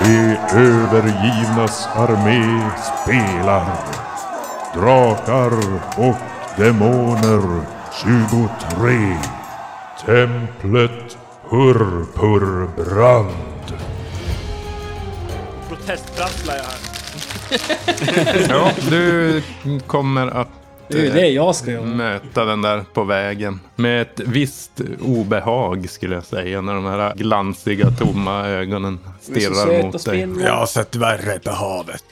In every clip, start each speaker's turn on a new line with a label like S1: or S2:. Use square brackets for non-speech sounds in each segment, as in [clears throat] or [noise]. S1: De övergivnas armé spelar. Drakar och demoner 23. Templet Purpurbrand.
S2: Protestprasslar jag här.
S3: Ja, du kommer att eh,
S4: Det är ju det jag ska göra.
S3: möta den där på vägen. Med ett visst obehag skulle jag säga. När de här glansiga tomma ögonen stirrar mot dig.
S5: Jag har sett värre på havet.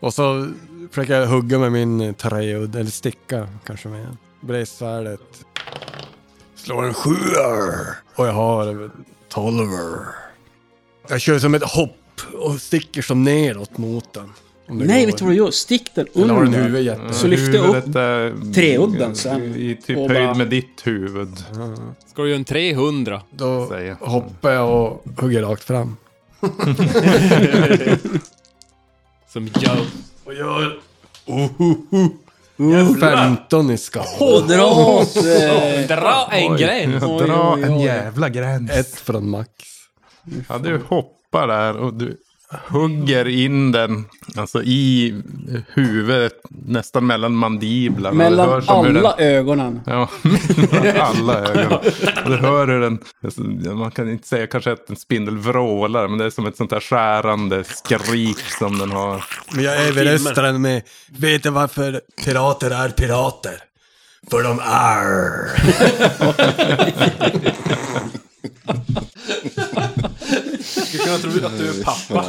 S5: Och så försöker jag hugga med min träudd, eller sticka kanske med bredsvärdet. Slår en sjuer! Och jag har tolver. Jag kör som ett hopp och sticker som neråt mot den. Om det
S4: Nej,
S5: går.
S4: vet du vad du gör? Stick den
S5: Eller har den
S4: under.
S5: huvudet jätte...
S4: Så lyfter jag upp
S3: Huvudet
S4: [laughs]
S3: är
S4: treudden sen.
S3: I
S4: och
S3: typ
S4: bara-
S3: höjd med ditt huvud.
S6: Ska du göra en 300?
S5: Då
S3: Säger.
S5: hoppar jag och hugger rakt fram.
S6: [laughs] Som Joe.
S7: [laughs]
S5: Och gör... Ohoho! 15 i skada.
S4: och dra åt... eh,
S6: Dra en gräns!
S4: Oj,
S3: Dra
S4: oj,
S3: en
S4: oj.
S3: jävla gräns.
S5: Ett från max.
S3: Ja, du hoppar där och du hugger in den, alltså i huvudet, nästan mellan mandiblarna. du hör
S4: Mellan
S3: som hur den-
S4: alla ögonen.
S3: Ja, [laughs] mellan alla ögon. Och du hör hur den, alltså, man kan inte säga kanske att en spindel vrålar, men det är som ett sånt här skärande skrik som den har.
S5: Men jag överröstar den med, vet du varför pirater är pirater? För de är...
S2: Jag tror att du är pappa.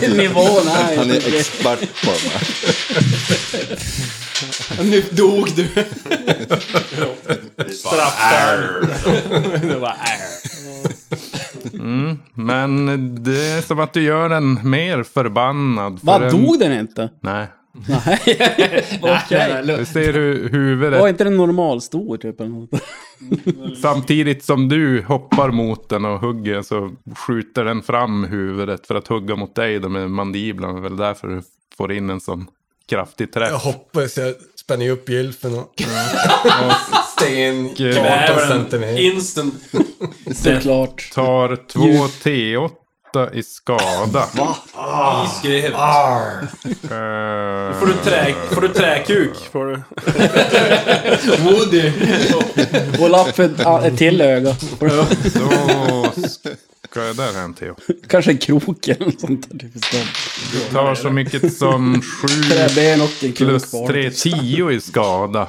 S4: Den nivån är
S8: Alltså, Han
S4: ju...
S8: är expert på de här.
S6: Nu dog du! Straffar! Det var är.
S3: Mm, Men det är som att du gör den mer förbannad. för
S4: Vad
S3: den-
S4: dog den inte?
S3: Nej.
S4: Okej.
S3: Du ser hur huvudet
S4: Var inte den normalstor typ eller något?
S3: Mm. Samtidigt som du hoppar mot den och hugger så skjuter den fram huvudet för att hugga mot dig då med mandiblarna. Det är väl därför du får in en sån kraftig
S5: Jag
S3: träff.
S5: hoppas jag spänner upp gylfen och... Sten 18 centimeter.
S2: Instant.
S4: Såklart.
S3: Tar två T8 i skada. Ah.
S5: Ah.
S2: Skrev.
S3: Eh,
S2: Får du trä, får du träkuk? Får du. Woody.
S4: Och lappen ah, ett till öga.
S3: Då ska jag där hem Theo.
S4: Kanske en krok eller något sånt där. Typ.
S3: Du tar så mycket som sju
S4: Träben och en krok
S3: plus
S4: kvar.
S3: tre, tio i skada.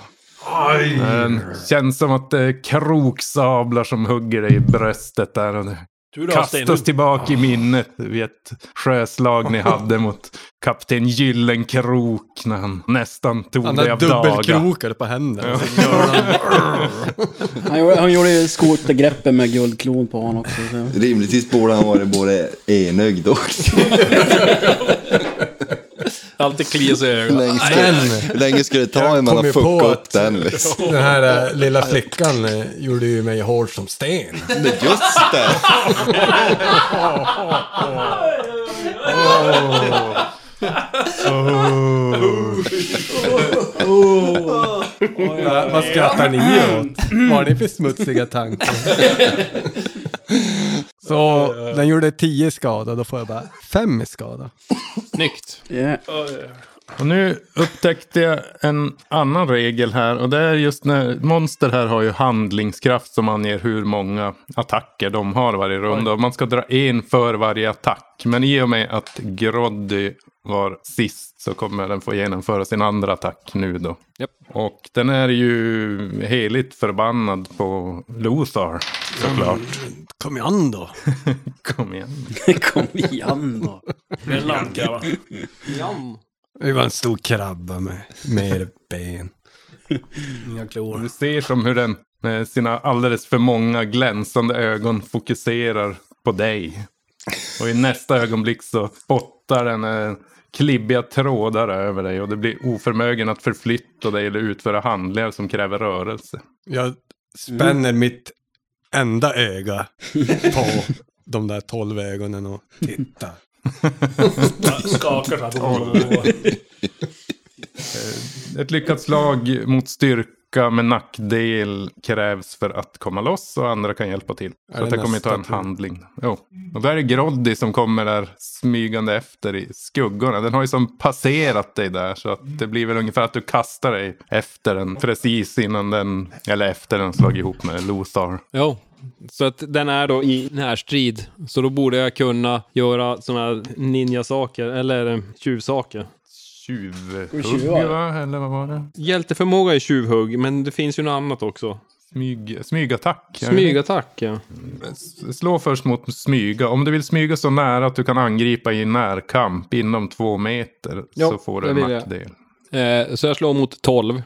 S3: Den känns som att det är kroksablar som hugger dig i bröstet där. och det-
S2: Tur du har
S3: Kastas
S2: stenhuvud.
S3: tillbaka i minnet vid ett sjöslag ni hade mot kapten Gyllenkrok när han nästan tog
S5: Han
S3: dig
S5: har
S3: av daga. [laughs]
S5: dubbelkrokar på händerna.
S4: Han gjorde, han gjorde ju skotergreppen med guldklon på honom också. Så.
S8: Rimligtvis borde han varit både enögd och
S6: Alltid kliar sig i
S8: Hur
S6: ögonen.
S8: länge
S5: Men
S8: skulle- hur länge skulle det ta innan
S5: kom
S8: han
S5: ju
S8: fuckade
S5: på
S8: upp
S5: att-
S8: den liksom?
S5: den här eh, lilla flickan eh, gjorde ju mig hård som sten.
S8: Men Just det!
S3: [laughs]
S5: Va- Vad skrattar ni åt? Vad har ni för smutsiga tankar? Så den gjorde 10 skada, då får jag bara 5 i skada.
S6: Snyggt.
S4: Yeah.
S3: Och nu upptäckte jag en annan regel här. Och det är just när monster här har ju handlingskraft som anger hur många attacker de har varje runda. Och man ska dra en för varje attack. Men i och med att Groddy var sist så kommer den få genomföra sin andra attack nu då.
S6: Japp.
S3: Och den är ju heligt förbannad på Lothar såklart.
S5: Kom igen då!
S3: [laughs] Kom
S5: [laughs]
S3: igen.
S4: Kom igen då.
S2: Det är en landkrabba.
S5: Det var en stor krabba med mer ben. [laughs] Inga klor.
S3: Du ser som hur den med sina alldeles för många glänsande ögon fokuserar på dig. Och i nästa ögonblick så spottar den eh, klibbiga trådar över dig och du blir oförmögen att förflytta dig eller utföra handlingar som kräver rörelse.
S5: Jag spänner
S3: Mm.
S5: mitt enda öga på de där tolv ögonen och tittar.
S2: [laughs] Skakar så här.
S3: Eh, Ett lyckat slag mot styrka styrka med nackdel krävs för att komma loss och andra kan hjälpa till.
S5: Är
S3: Så att
S5: det
S3: jag kommer ju ta
S5: nästa
S3: en
S5: tur?
S3: handling. Jo. Och där är Groddy som kommer där smygande efter i skuggorna. Den har ju som passerat dig där så att det blir väl ungefär att du kastar dig efter den precis innan den, eller efter den slagit ihop med Lothar.
S9: Jo, så att den är då i närstrid. Så då borde jag kunna göra såna här ninja-saker, eller eh, tjuvsaker.
S3: Tjuvhugg
S4: Tjuvar.
S3: va? Eller vad var det?
S9: Hjälteförmåga är tjuvhugg, men det finns ju något annat också.
S3: Smyg, smygattack. är det det?
S9: Smygattack, ja.
S3: Slå först mot smyga. Om du vill smyga så nära att du kan angripa i närkamp inom två meter
S9: Ja,
S3: så får du
S9: det
S3: en
S9: vill jag.
S3: nackdel.
S9: Eh, så jag slår mot 12.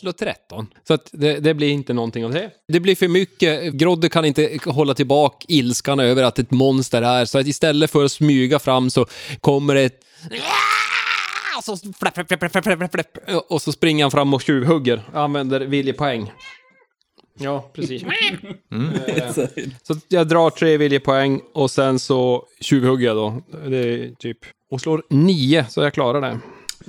S9: Slår 13. Så att det, det blir inte någonting av det. Det blir för mycket. Grodde kan inte hålla tillbaka ilskan över att ett monster är. Så att istället för att smyga fram så kommer det ett... Och så, fläpp, fläpp, fläpp, fläpp, fläpp, fläpp, fläpp. och så springer han fram och tjuvhugger. Använder viljepoäng. Ja, precis.
S7: Mm.
S5: Mm.
S9: Eh, Så att jag drar tre viljepoäng och sen så tjuvhugger jag då. Det är typ... Och slår nio, så jag klarar det.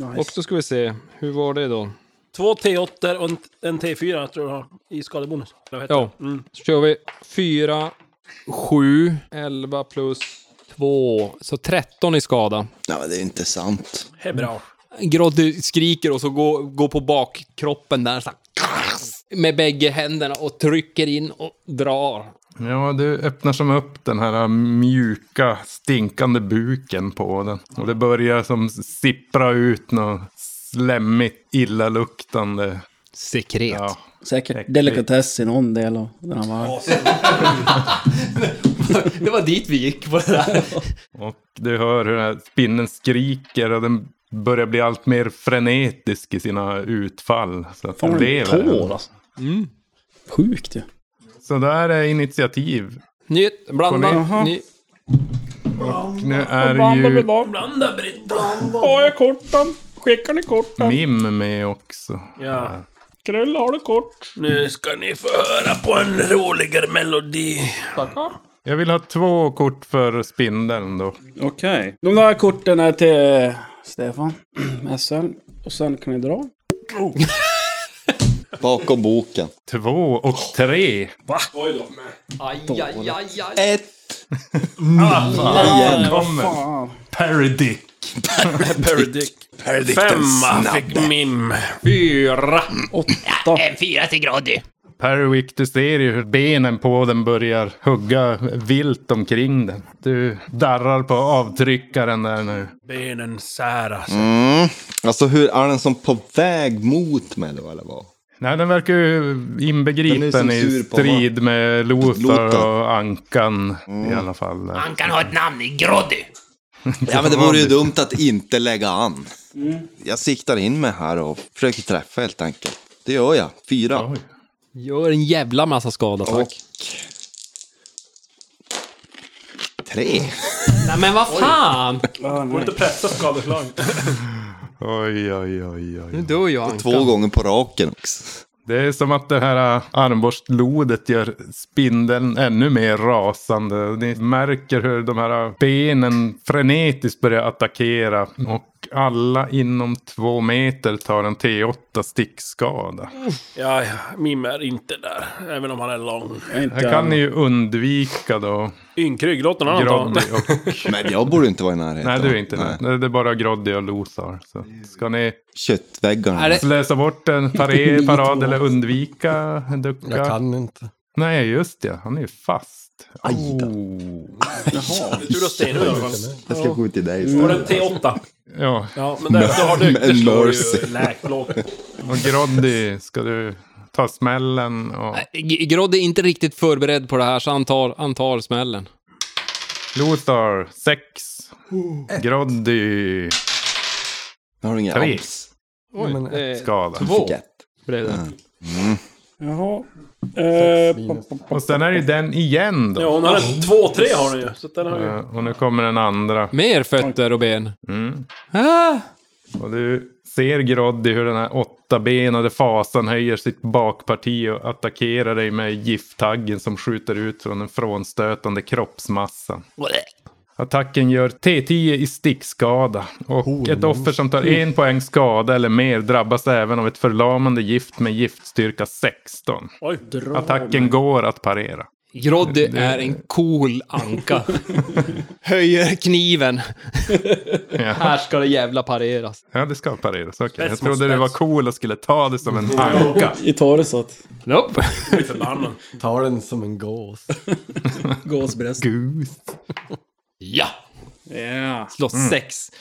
S9: Och
S4: Nice.
S9: så ska vi se, hur var det då?
S2: Två T8 och en, en T4 tror jag har i skadebonus. Eller vad heter Mm.
S9: Ja, så kör vi 4, 7, 11 plus 2, så 13 i skada.
S8: Nej, men det är inte sant.
S2: det? Hebra.
S9: Groddy skriker och så går, går på bakkroppen där så här, med bägge händerna och trycker in och drar.
S3: Ja, du öppnar som upp den här äh, mjuka, stinkande buken på den. Och det börjar som sippra ut något slemmigt, illaluktande.
S9: Sekret.
S3: Ja.
S4: Säkert delikatess i någon del av den här världen.
S9: Det var dit vi gick på det där.
S3: Och du hör hur den här spinnen skriker och den börjar bli allt mer frenetisk i sina utfall. Så att
S4: Fan
S3: den
S4: vad den
S3: lever.
S4: tår
S3: än.
S4: alltså.
S9: Mm.
S4: Sjukt ju.
S3: Så där är initiativ.
S9: Nytt, blanda,
S3: Jaha.
S9: ny,
S3: Nu är ju
S2: Blanda Britt.
S6: Har jag korten? Skickar ni korten?
S3: Mim med också.
S2: Ja.
S6: Krull, har du kort?
S2: Nu ska ni få höra på en roligare melodi.
S3: Jag vill ha två kort för spindeln då.
S4: Okej. De där korten är till Stefan, [clears throat] SL. Och sen kan ni dra.
S8: Bakom boken.
S3: Två och tre.
S8: Ett!
S3: Igen. Kommer.
S4: Fan.
S3: Parody.
S2: Paradic. Femma fick Mim.
S9: fyra.
S4: Åtta.
S3: Perwick, du ser ju hur benen på den börjar hugga vilt omkring den. Du darrar på avtryckaren där nu.
S2: Benen säras.
S8: Mm. Alltså hur är den som på väg mot mig då eller vad?
S3: Nej, den verkar ju
S8: Den
S3: inbegripen
S8: är ju som
S3: i
S8: sur på, va?
S3: strid med Lothar
S8: Lothar. Mm.
S3: och Ankan i alla fall.
S7: Ankan har ett namn i Groddy.
S8: Ja men det vore ju dumt att inte lägga an. Jag siktar in mig här och försöker träffa helt enkelt. Det gör jag. Fyra.
S3: Oj.
S9: Gör en jävla massa skada tack.
S8: Och... Tre.
S9: Nej men vad fan!
S7: Ah,
S2: Får inte pressa skadeslag.
S7: [laughs]
S3: Oj, oj, oj, oj.
S9: Nu dör ju Ankan.
S8: Två gånger på raken också.
S3: Det är som att det här äh, armborstlodet gör spindeln ännu mer rasande. Ni märker hur de här äh, benen frenetiskt börjar attackera. Och alla inom två meter tar en T8 stickskada.
S2: Ja, ja, Mim är inte där. Även om han är lång.
S4: Jag är inte
S3: Här kan ni ju undvika då
S2: Ynkrygg, låt någon annan ta.
S3: Groddy [laughs] och...
S8: Men jag borde inte vara i närheten.
S3: Nej, du är inte det. Det är bara Groddy och Lothar. Så ska ni
S8: Köttväggarna.
S9: Är det-
S3: Alltså, läsa bort en
S5: [laughs]
S3: pare- parad eller undvika? Ducka?
S5: Jag kan inte.
S3: Nej, just det. Han är ju fast.
S8: Aj då.
S3: Oh.
S2: Tur att Sten i alla fall.
S8: Jag ska gå till dig
S2: Var
S8: istället.
S2: det T8?
S3: Ja,
S2: Ja, men där, då har du...
S8: Men
S2: Det slår
S8: mercy.
S2: ju läkt lågt.
S3: Och Groddy, ska du ta smällen? Och
S9: G- Grodd är inte riktigt förberedd på det här, så han tar, han tar smällen.
S3: Lothar, sex. Groddy,
S8: Nu har du inga
S3: tre.
S8: abs.
S9: Oj,
S5: men
S9: det är
S3: Skada.
S9: två.
S8: Fick ett. Mm.
S9: blev det.
S4: Jaha. Eh,
S5: minus.
S4: pop, pop, pop.
S3: Och sen är det den igen då.
S2: Ja, hon har en två, tre har hon ju. Så den har ju...
S3: Eh, Och nu kommer den andra.
S9: Mer fötter och ben.
S3: Mm.
S9: Ah,
S3: Och du ser Groddy hur den här åttabenade fasan höjer sitt bakparti och attackerar dig med gifttaggen som skjuter ut från den frånstötande kroppsmassan. Attacken gör T10 i stickskada. Och ett offer som tar en poäng skada eller mer drabbas även av ett förlamande gift med giftstyrka 16.
S2: Oj.
S3: Attacken går att parera.
S9: Groddy är en cool
S3: [laughs]
S9: anka. Höjer kniven. Här ska det jävla pareras.
S3: Ja, det ska pareras. Okay. Jag
S2: Spets
S3: trodde
S2: mot
S3: det var
S2: spets.
S3: cool och skulle ta det som
S2: Mm.
S3: en anka.
S4: I Toresot.
S9: Nope.
S2: Förbannad.
S5: Tar den som
S3: [laughs]
S5: en gås.
S4: Gåsbröst.
S3: Goose.
S9: Ja!
S4: Ja.
S9: Slå sex.
S3: Mm.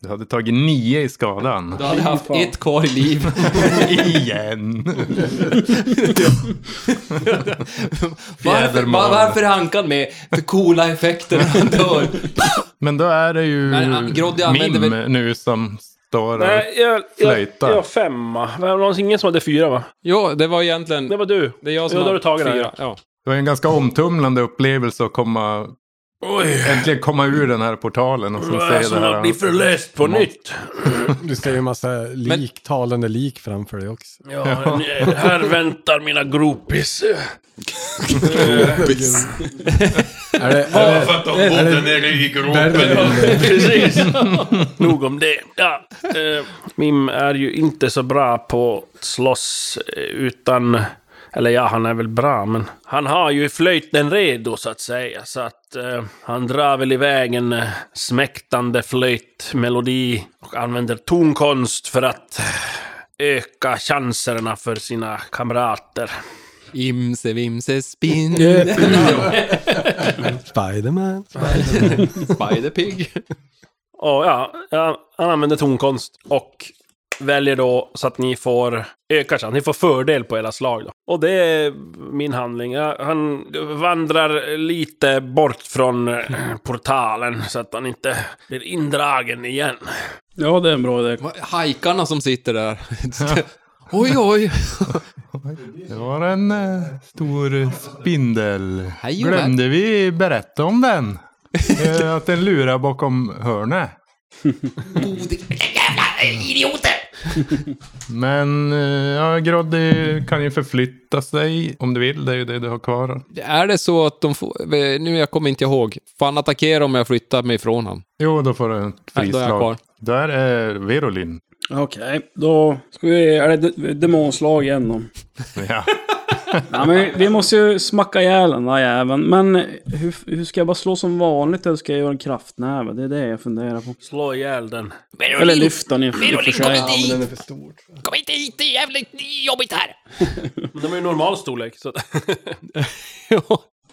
S3: Du hade tagit nio i skadan.
S9: Du hade haft
S4: fan.
S9: ett kvar i liv.
S3: [laughs] Igen.
S9: [laughs] Varför,
S3: Fjäderman.
S9: var, varför är ankan med? För coola effekter när han dör.
S3: [laughs] Men då är det ju
S9: Men, ah, Groddy använder
S3: Mim
S9: väl-
S3: nu som står och...
S2: Nej, jag, jag, jag,
S3: Flöjta.
S2: jag har femma. Men det var ingen som hade fyra va?
S9: Jo, det var egentligen...
S2: Det var du.
S9: Det är jag som
S2: Jo, då har du tagit den.
S9: fyra. Ja.
S3: Det var en ganska omtumlande upplevelse att komma... Äntligen komma ur den här portalen och sen se det här.
S2: förläst på nytt.
S5: [laughs] Du ser ju en massa lik, talande lik framför dig också.
S2: Ja, ni- här väntar mina gropis.
S5: [laughs] Är det, är det, är det Berlin?
S2: Precis. [laughs] Nog om det. Ja. Eh, Mim är ju inte så bra på att slåss eh, utan... Eller ja, han är väl bra, men han har ju flöjten redo så att säga. Så att eh, han drar väl iväg en eh, smäktande flöjtmelodi och använder tonkonst för att eh, öka chanserna för sina kamrater.
S9: Imse vimse spindel. [laughs]
S5: Spiderman?
S9: Spiderpig.
S2: Och [laughs] ja, ja, han använder tonkonst och väljer då så att ni får öka chans. Ni får fördel på era slag då. Och det är min handling. Ja, han vandrar lite bort från eh, portalen så att han inte blir indragen igen.
S4: Ja, det är en bra idé.
S9: Hajkarna som sitter där. Oj, oj.
S3: Det var en eh, stor spindel.
S9: Hej och
S3: Glömde vi berätta om den?
S9: [laughs]
S3: Eh, Att den lurar bakom hörnet.
S7: Jävla idioter!
S3: Men eh, ja, Groddy kan ju förflytta sig om du vill. Det är ju det du har kvar.
S9: Är det så att de får... Nu, jag kommer inte ihåg. Får han attackera om jag flyttar mig ifrån han?
S3: Jo, då får du ett
S9: Nej, Äh, då är jag
S3: frislag.
S9: kvar.
S3: Där är eh, Virolin.
S4: Okej, då ska vi... Är det de- demonslag igen då?
S3: Ja.
S4: Ja, men vi- vi måste ju smacka ihjäl den där jäveln. Men hur, hur ska jag bara slå som vanligt eller ska jag göra en kraftnäve? Det är det jag funderar på.
S2: Slå ihjäl den.
S7: Verolin,
S4: Eller lyfta den i och för
S7: Verolin, kom
S4: sig.
S7: inte hit! Kom inte hit, det är jävligt jobbigt här!
S2: Men de är ju normal storlek. Så...
S9: Ja.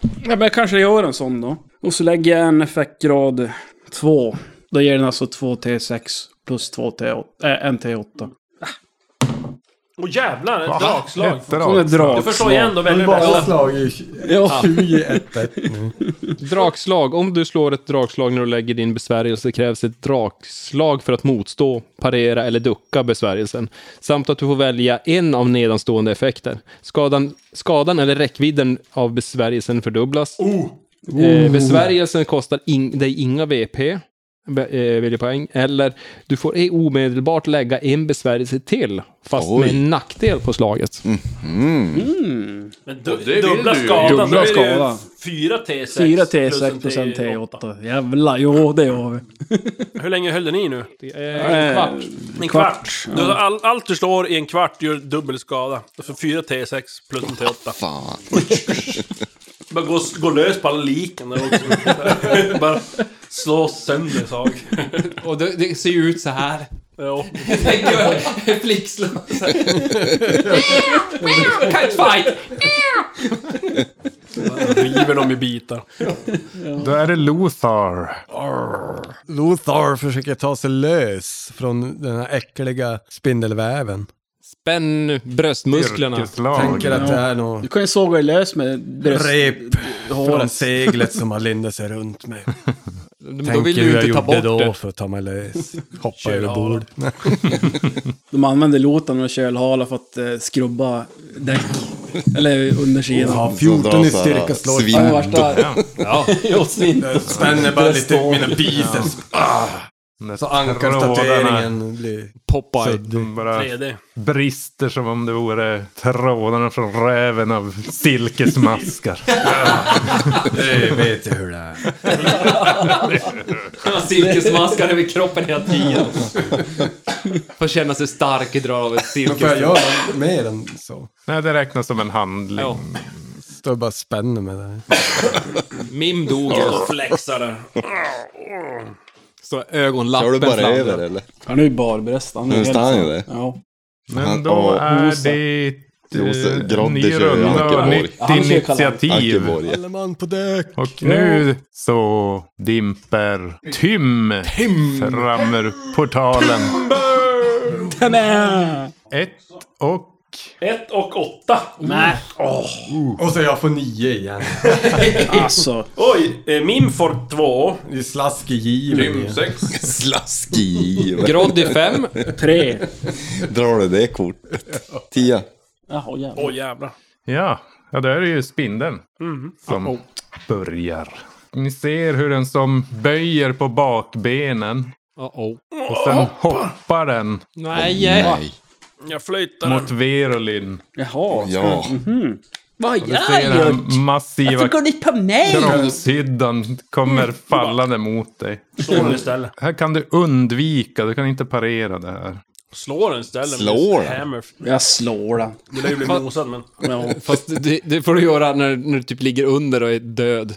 S4: Ja, men jag kanske gör en sån då. Och så lägger jag en effektgrad 2. Då ger den alltså 2T6 plus 2T8. Äh, 1T8.
S2: [laughs] Åh jävlar, ett dragslag!
S3: Ett drag.
S4: Som ett
S2: Du
S4: drag.
S2: förstår igen då väldigt
S5: Bara
S2: bästa.
S5: slag i
S2: [laughs]
S4: Ja.
S5: 21 nu.
S9: Dragslag. Om du slår ett dragslag när du lägger din besvärjelse krävs ett dragslag för att motstå, parera eller ducka besvärjelsen. Samt att du får välja en av nedanstående effekter. Skadan, skadan eller räckvidden av besvärjelsen fördubblas. Eh, besvärjelsen kostar in, dig inga VP, be- eh, viljepoäng, eller du får e- omedelbart lägga en besvärjelse till, fast med en nackdel på slaget.
S2: Men du, dubbla skadan,
S4: Dubbla
S2: då är det ju
S4: skadan.
S2: 4 T6.
S4: 4
S2: plus en
S4: T6 plus en T8. Jävlar, jo det gör vi.
S2: Hur länge höll den i nu?
S9: Eh, kvart.
S2: En kvart. Du, all, allt du slår i en kvart gör dubbel skada. Du får 4 T6 plus en T8.
S8: Fan.
S2: Bara gå, gå lös på alla liken där [laughs] också. Bara slå sönder saker.
S9: [laughs] Och det, det ser ju ut så här.
S2: Ja.
S9: [laughs] Flickslå. Catfight!
S2: River dem i bitar.
S3: Då är det Lothar.
S5: Lothar försöker ta sig lös från den här äckliga spindelväven.
S9: Spänn [laughs] bröstmusklerna.
S3: Yrkeslag.
S5: Tänker att det är något
S4: Du kan ju såga dig lös med bröst...
S5: rep från
S4: håret.
S5: seglet som har lindat sig
S9: [laughs]
S5: runt mig.
S9: Då vill du inte ta bort
S5: då
S9: det.
S5: för att ta mig lös. Hoppa över bord.
S4: [laughs]
S3: [laughs]
S4: De använder lotan och kölhala för att eh, skrubba däck. Eller undersidan.
S5: Ja, 14 i styrka slår.
S4: Ja, det
S8: Svin.
S4: värsta... Ja, just det.
S3: Ah.
S5: Spänner bara lite mina biceps. Så ankarstateringen blir
S9: Popeye.
S5: suddig.
S3: bara
S2: 3D.
S3: brister som om det vore trådarna från räven av
S5: [laughs]
S3: silkesmaskar.
S5: Det vet jag hur det är.
S9: Silkesmaskar över kroppen hela tiden. Får känna sig stark i drag av ett
S5: Men får jag
S9: silkes...
S5: göra mer än så?
S3: [laughs] Nej, det räknas som en handling.
S9: Ja.
S5: Står bara och spänner med det här.
S9: Mim dog.
S2: Flexare.
S9: Så
S8: Kör du
S9: ögonlappen
S8: bara
S9: fladdrar.
S8: över eller?
S4: Han är ju barbröst. Han
S8: Nu
S4: är helt-
S8: står han ju det.
S4: Ja.
S3: Men
S8: Han-
S3: då
S8: ja,
S3: är
S4: Osa.
S3: det
S8: Jose-
S3: eh,
S8: Grodde
S3: ny
S8: kör ju
S3: runda och
S8: Ankeborg.
S3: nytt
S4: Han kör
S3: initiativ.
S8: Ankeborg.
S5: Alle man på däck!
S3: Och nu så dimper Tym, fram ur portalen. Ett och...
S2: 1 och 8.
S4: Nej.
S5: Och så jag får nio
S4: [laughs]
S5: igen.
S4: Alltså.
S2: Oj! eh, Mim får 2.
S5: Det är slask i given.
S8: Slaskig.
S9: Grodd i fem.
S4: Tre.
S8: Drar du det kortet? Tia.
S4: Jaha, jävlar.
S2: Åh jävlar.
S3: Ja, ja då är det ju spindeln som
S5: oh.
S3: börjar. Ni ser hur den som böjer på bakbenen
S9: Uh-oh.
S3: och sen hoppar den
S9: Nej.
S8: Nej.
S2: Jag flöjtar
S3: mot
S2: den.
S3: Verolin.
S4: Jaha. mhm.
S8: Ja.
S3: Och du ser den här
S4: Alltså,
S3: massiva
S10: ni på mig?
S3: kroppshyddan kommer
S4: Mm.
S3: fallande mot dig.
S2: Slår den istället.
S3: Här kan du undvika, du kan inte parera det här.
S2: Slår den istället. med
S8: Slår den?
S2: Hammer.
S4: Jag slår den.
S2: Du lär ju bli mosad men...
S4: Ja.
S9: Fast det, det får du göra när, när du typ ligger under och är död.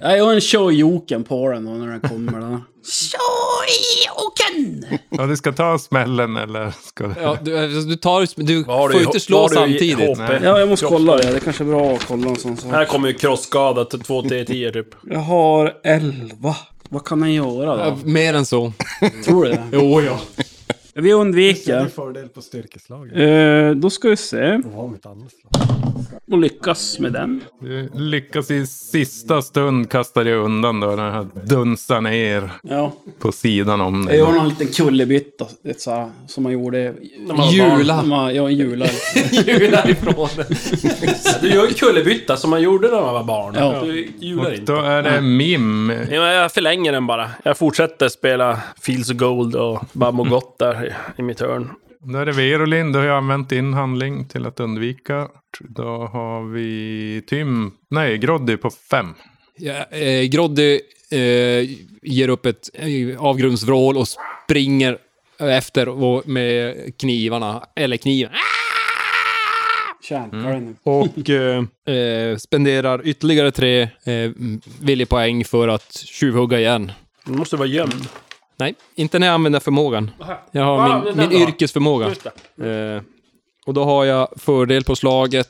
S4: Jag har en tjojoken på den då när den kommer. Den.
S10: Tjojoken!
S3: Ja, du ska ta smällen eller ska du...
S9: Ja, du, du, tar, du
S2: Vad har
S9: får
S2: du i-
S9: ju inte slå
S2: vad har du i
S9: samtidigt.
S2: HP?
S3: Nej.
S4: Ja, jag måste kolla det. Det kanske är bra att kolla en sån sak.
S2: Här kommer ju krossskada till 2 T10 typ.
S4: Jag har 11. Vad kan jag göra
S9: Ja,
S4: då?
S9: Mer än så.
S4: Tror du det?
S9: Jo, ja.
S4: Vi
S5: Jag har
S4: undviker.
S5: fördel på styrkeslaget.
S4: Eh, då ska vi se.
S5: Jag har mitt andra slag.
S4: Och lyckas med den.
S3: Du lyckas i sista stund kasta dig undan då. Den här dunsar ner
S4: Ja.
S3: på sidan om
S9: Mm.
S4: Jag
S3: dig.
S4: gör någon liten kullerbytta ett så här, som man gjorde... När
S2: man var
S9: Jula.
S4: När man, ja, en jula.
S9: [laughs] Jula ifrån.
S2: Du gör ju kullerbytta som man gjorde när man var barn.
S4: Ja.
S2: Du jular
S3: Och
S2: inte.
S3: då är det Mim.
S2: Ja, men jag förlänger den bara. Jag fortsätter spela Fields of Gold och
S3: [laughs]
S2: Babbo Gott där i, i mitt hörn.
S3: Då är det Verolin. Då har jag använt din handling till att undvika. Då har vi Tim. Nej, Groddy på fem.
S9: Ja, eh, Groddy eh, ger upp ett eh, avgrundsvrål och springer efter och med knivarna, eller kniven. Ah!
S4: Kärnkar den.
S9: Mm. Och eh, [laughs] eh, spenderar ytterligare tre eh, viljepoäng för att tjuvhugga igen. Mm.
S2: Den måste vara gömd.
S9: Nej, inte när jag använder förmågan. Jag
S2: Ah,
S9: har
S2: det
S9: min,
S2: är den
S9: min
S2: du har.
S9: yrkesförmåga.
S2: Just det.
S9: Eh, och då har jag fördel på slaget.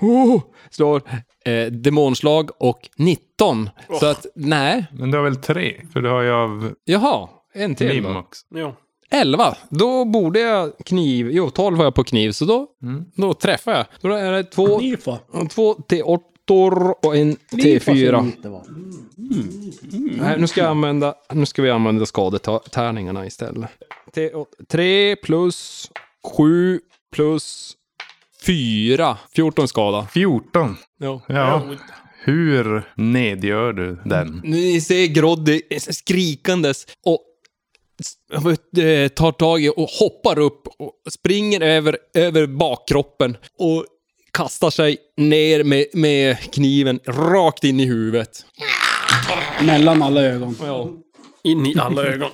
S9: Oh, slår eh, demonslag och 19. Så att, nej.
S3: Oh. Men du har väl tre? För du har ju av
S9: Jaha, en till
S3: Mim
S9: då.
S3: också.
S2: Jo.
S9: 11. Då borde jag kniv... Jo, 12 har jag på kniv, så då,
S3: Mm.
S9: då träffar jag. Då är det två,
S4: Nifa.
S9: två T8 och en T4.
S4: Det var.
S9: Mm.
S4: Mm.
S9: Nej, nu ska, jag använda, nu ska vi använda skadetärningarna istället. T8, 3 plus 7 plus 4. 14 skada.
S3: 14.
S9: Ja.
S3: Ja. Hur nedgör du den?
S9: Ni ser Groddy skrikandes och s- eh, tar tag i och hoppar upp och springer över, över bakkroppen och kastar sig ner med, med kniven rakt in i huvudet.
S4: Mellan alla ögon.
S9: Ja.
S2: In i alla
S9: [laughs]
S2: ögon.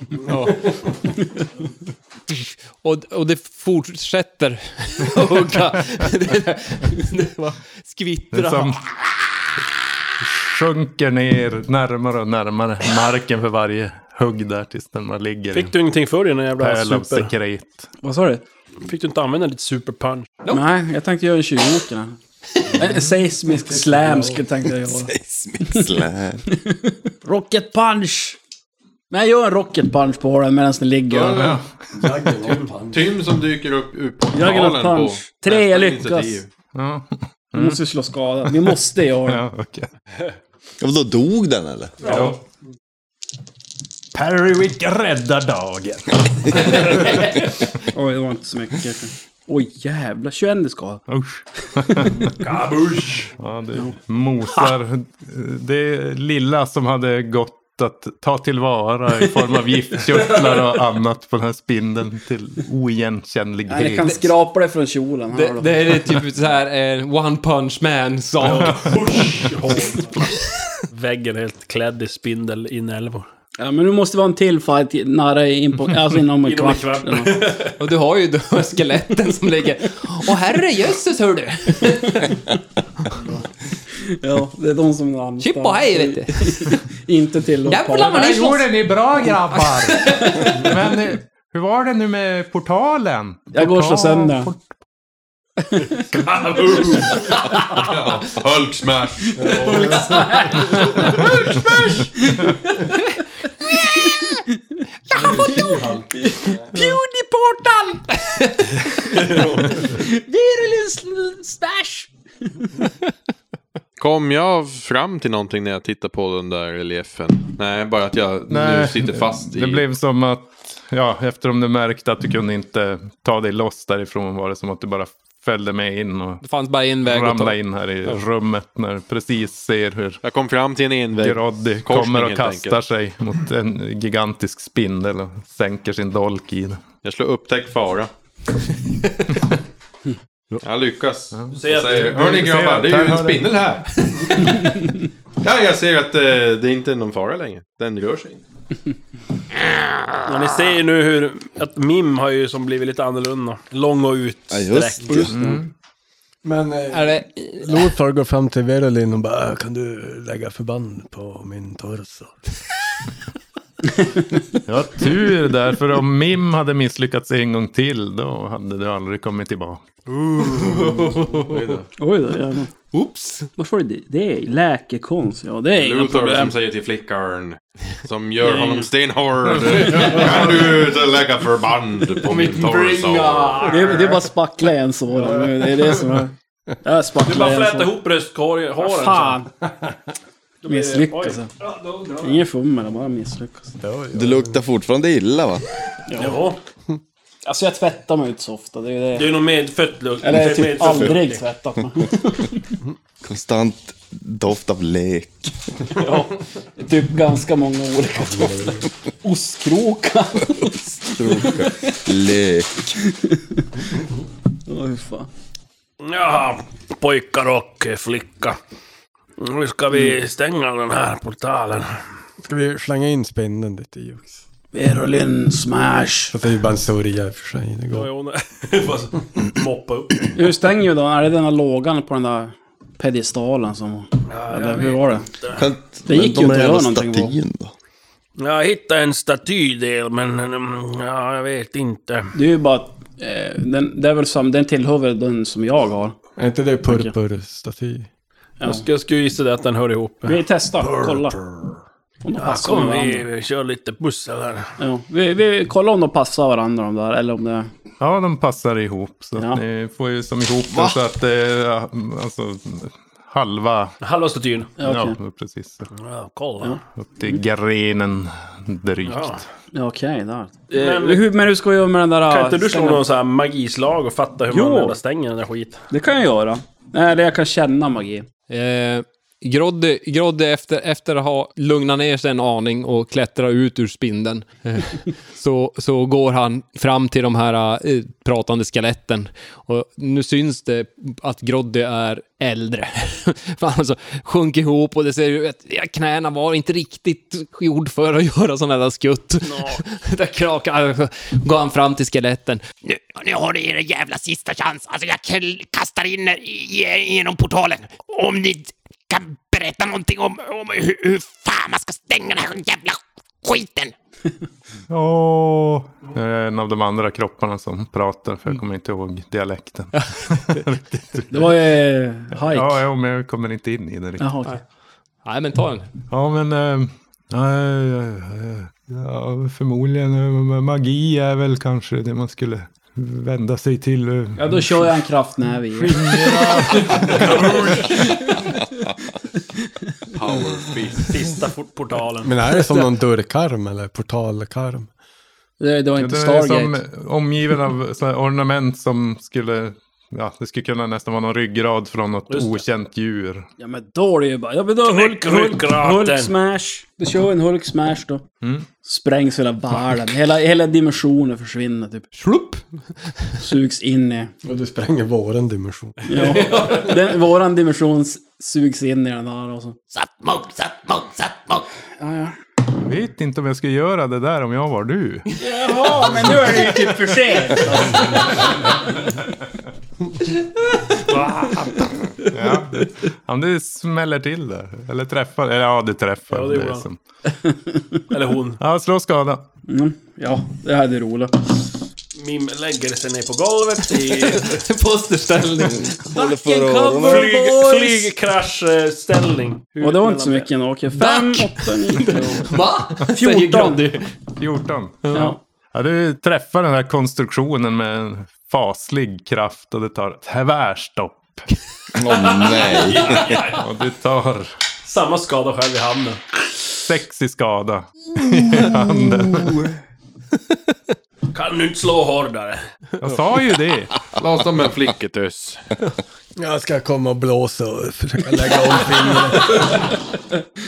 S9: Och, och det fortsätter [laughs] att hugga. [laughs] Det, det bara
S3: Den
S9: skvittrar.
S3: som sjunker ner närmare och närmare marken för varje hugg där tills den bara ligger i
S2: Fick du ingenting för dig när jävla
S3: pöl av
S2: super...
S3: sekret.
S4: Vad sa du?
S2: Fick du inte använda ditt superpunch?
S4: Nej, jag tänkte göra en tjuvåken här. En Eh, seismisk slam skulle tänkte jag göra.
S8: Smickslä.
S4: [laughs] Rocket punch! Men jag gör en rocket punch på den medan den ligger.
S11: Ja. Tim som dyker upp ur
S4: Jagger
S11: portalen på...
S4: punch. Tre, jag
S11: nästa
S4: lyckas.
S11: initiativ.
S3: Ja, Mm.
S4: Vi måste slå skada. Vi måste göra det.
S3: ja okej.
S8: Ja, men då dog den eller?
S3: Ja. Perrywick räddar dagen.
S4: Oj, det var inte så mycket kanske. Oj, jävlar. 21 i skada. [laughs]
S3: Usch. Kabush. Ja, det mosar det lilla som hade gått att ta tillvara i form av giftkörtlar och annat på den här spindeln till oigenkännlighet.
S4: Nej, jag kan skrapa det från kjolen. Här
S9: Det,
S4: har du.
S9: det är typ så här en one punch man-sak.
S2: [laughs] Väggen helt klädd i spindel inälvor.
S4: Ja, men nu måste vi ha en till fight nära in på, alltså inom
S2: Inom
S4: en
S2: en
S4: kvart.
S2: kvart.
S4: eller nåt.
S9: Och du har ju då skeletten som ligger... Åh herrejösses
S7: [laughs]
S9: hör du!
S4: Ja, det är de som är närmast.
S9: Chip och hej vet du!
S4: [laughs] Inte till att
S9: Jävlar vad ni slåss!
S3: ni bra grabbar! Men eh, hur var det nu med portalen?
S4: Jag går och slår sönder den.
S3: Portal-
S11: [laughs] Hulk smash.
S9: [laughs]
S4: [laughs]
S9: Pewdieportal!
S4: Virulin stash!
S11: Kom jag fram till någonting när jag tittar på den där reliefen? Nej, bara att jag nu
S3: Nej,
S11: sitter fast i...
S3: Det blev som att, ja, eftersom du märkte att du kunde inte ta dig loss därifrån var det som att du bara följde med in och
S9: Det fanns bara en väg att ta.
S3: ramlade in här i rummet när du precis ser hur
S11: Jag kom fram till en enväg.
S3: Groddy
S11: korsning
S3: kommer och
S11: helt
S3: kastar
S11: enkelt.
S3: sig mot en gigantisk spindel och sänker sin dolk i
S4: [laughs]
S3: den.
S11: Jag slår upptäck fara. Jag lyckas. Jag säger, Hörni
S3: Du ser
S11: grabbar,
S3: att
S11: det är ju
S3: här
S11: en
S3: har det-
S11: spindel [laughs] här. ja, jag ser att eh, det är inte är någon fara längre. Den rör sig inte.
S2: Och ni ser ju nu hur... Att Mim har ju som blivit lite annorlunda. Lång och
S8: Ja, just
S2: utsträckt.
S8: det. Mm.
S5: Men
S9: Är
S5: eh,
S9: det...
S5: Lothar går fram till Verolin och bara "Äh, kan du lägga förband på min torso?
S3: Ja, tur där, för om Mim hade misslyckats en gång till då hade du aldrig kommit tillbaka.
S4: Oj då, jävlar.
S9: Oops!
S4: Varför är det? Det är läkekonst, ja. Det är inga
S11: Luthor
S4: problem.
S11: som säger till flickan. Som gör honom stenhård. kan du inte lägga förband på min torso?
S4: Det är, det är bara spackla igen såren nu. Det är det som är... Jag
S2: Du bara
S4: spacklar igen
S2: flätar
S4: såren.
S2: ihop bröstkorgen, håren. så.
S4: Fan! Misslyckas.
S2: Oj. Ja, då drar jag.
S4: alltså. Ingen fummel, jag bara misslyckas.
S8: Du luktar fortfarande illa va?
S2: Ja.
S4: Alltså jag tvättar mig inte så ofta. Det är ju
S2: Det
S4: det.
S2: är nog medfött lukt.
S4: Eller typ
S2: Medfött lukt.
S4: aldrig tvättat mig.
S8: [laughs]
S4: [laughs]
S8: Konstant doft av lek.
S4: Ja, typ ganska många olika dofter. Ostkrokar.
S8: Lek.
S4: Oj fan.
S2: Jaha, pojkar och eh, flicka. Nu ska vi stänga den här portalen.
S5: Ska vi slänga in spindeln dit i också?
S4: Verolin smash.
S5: Fast det är ju bara en sörja i och för sig. Det går.
S2: [laughs] Moppa upp.
S4: Hur stänger vi då? Är det den här lågan på den där pedestalen som... eller hur var det?
S8: Kan,
S4: Det gick ju inte att göra någonting på.
S8: statyn då?
S2: Jag hittade en statydel, men mm, ja, jag vet inte.
S4: Det är ju bara... Eh, den, det är väl som, den tillhör väl den som jag har.
S5: Är inte det purpurstaty?
S2: Jag, skulle, jag skulle gissa det att den hör ihop.
S4: Vi testar, kolla. Om de
S2: Ja,
S4: passar
S2: kom,
S4: varandra.
S2: vi, vi kör lite pussel här.
S4: Ja, vi, vi kollar om de passar varandra de där, eller om det...
S3: Ja, de passar ihop. Så
S4: Ja.
S3: att ni får ju som ihop det så att det eh, alltså, halva...
S2: Hallå statyn.
S4: Ja, okej.
S3: Ja, precis.
S2: Ja, kolla.
S3: Upp till grenen drygt.
S2: Ja.
S4: Ja, okej, där. Men,
S2: Men-
S4: hur, men hur ska vi göra med den där...
S2: Eh, Kan inte du slå
S4: stängen?
S2: någon sån här magislag och fatta hur
S4: Jo.
S2: man jävla stänger den där skiten?
S4: Det kan jag göra. Nej, Eller jag kan känna magi.
S9: Eh, Groddy, Groddy efter, efter att ha lugnat ner sig en aning och klättrat ut ur spindeln [laughs] eh, så, så går han fram till de här eh, pratande skeletten. Och nu syns det att Groddy är äldre. [laughs] För han alltså sjönk ihop och det ser ju att ja, knäna var inte riktigt gjord för att [laughs] göra sådana där skutt. [laughs] där krakar, går han fram till skeletten.
S7: Nu, nu har ni er jävla sista chans. Alltså jag kl- kastar in er i- i- genom portalen. Om ni d- kan berätta någonting om, om hur, hur fan man ska stänga den här jävla skiten.
S3: Åh! Det är en av de andra kropparna som pratar, för jag kommer inte ihåg dialekten.
S4: Det var ju... Hike.
S3: Ja, ja, men jag kommer inte in i den riktigt.
S4: Jaha, okej.
S9: Nej, men ta den.
S3: [laughs] Ja, men... eh, nej, eh, eh, ja, förmodligen. eh, Magi är väl kanske det man skulle vända sig till. eh.
S4: Ja, då kör jag en kraftnäve i.
S2: Sista fort- portalen.
S5: Men är det som någon dörrkarm eller portalkarm?
S4: [laughs] Det, det var
S3: Ja,
S4: inte
S3: Det är
S4: Stargate.
S3: som omgiven av så här ornament som skulle Ja, det skulle kunna nästan vara någon ryggrad från något
S4: Just det.
S3: okänt djur.
S4: Ja men då är det ju bara... Ja men då Hulk, Hulk,
S3: ryggraden.
S4: Hulk smash. Du kör en Hulk smash då. Sprängs hela världen. Hela, hela dimensionen försvinner typ. Slupp! Sugs in i...
S5: Och du spränger våran dimension.
S4: Ja. Den, våran dimension s- sugs in i den där och så.
S7: Sattmog, sattmog, sattmog.
S4: Ja, ja.
S3: Jag vet inte om jag skulle göra det där om jag var du.
S4: Jaha, men nu är det ju typ för sent.
S3: ja. Om det smäller till där. Eller träffar. Eller ja, det träffar.
S4: Ja, det gjorde
S3: är
S4: han.
S3: som-
S2: [laughs] Eller hon.
S3: Ja, slå skada.
S4: Mm, ja, det här är roligt.
S2: Mim lägger sig ner på golvet
S3: [laughs]
S2: i...
S9: Posterställning.
S2: Håller
S4: för öronen. boys!
S2: Flygkraschställning.
S4: Och det var inte så mycket ändå. Okej, fem, åtta, nio.
S9: Va?
S4: Säger Grandi.
S3: 14.
S4: Ja.
S3: Ja, du träffar den här konstruktionen med en faslig kraft och det tar tvärstopp.
S8: Åh nej.
S3: [laughs] och du tar
S2: Samma skada själv i handen.
S3: sex i skada i handen.
S2: [laughs] Kan du inte slå hårdare?
S3: Jag sa ju det.
S11: Låt som en flicketös.
S5: Jag ska komma och blåsa och försöka lägga om
S2: [laughs]
S5: fingrarna.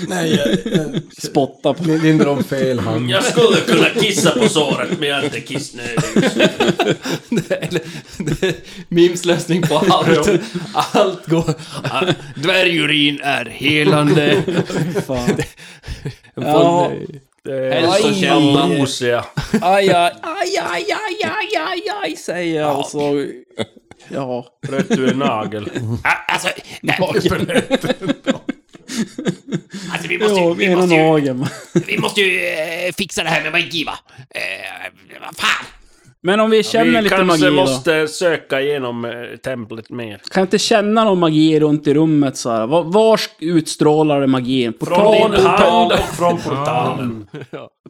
S5: Nej,
S4: Spotta på.
S5: Lindra om fel hand.
S2: Jag skulle kunna kissa på såret, men jag är inte
S5: [laughs]
S2: kissnödig.
S9: Mims lösning på
S2: [laughs]
S9: allt. Allt går...
S2: Ah, [laughs] Dvärgurin är helande.
S4: Fan.
S9: En
S4: Ja.
S9: full-
S2: Hälsokälla mosiga.
S4: Aj, aj, aj, aj, aj, aj, aj, aj, säger jag. Och så... Ja.
S2: Bröt du en
S4: [laughs]
S2: nagel?
S7: Ah, Alltså, nej. alltså vi måste
S4: Ja,
S7: ju...
S4: med
S7: Vi
S4: ena
S7: måste ju,
S4: nageln.
S7: vi måste ju eh, fixa det här med magi, va? Eh, vad fan?
S4: Men om vi känner
S2: Vi
S4: lite
S2: kanske
S4: magi då?
S2: måste söka igenom eh, templet mer.
S4: Kan jag inte känna någon magi runt i rummet så här? Var, var utstrålar det magin?
S2: Från
S4: Portal,
S2: din hand
S4: portal,
S2: och [laughs] från portalen.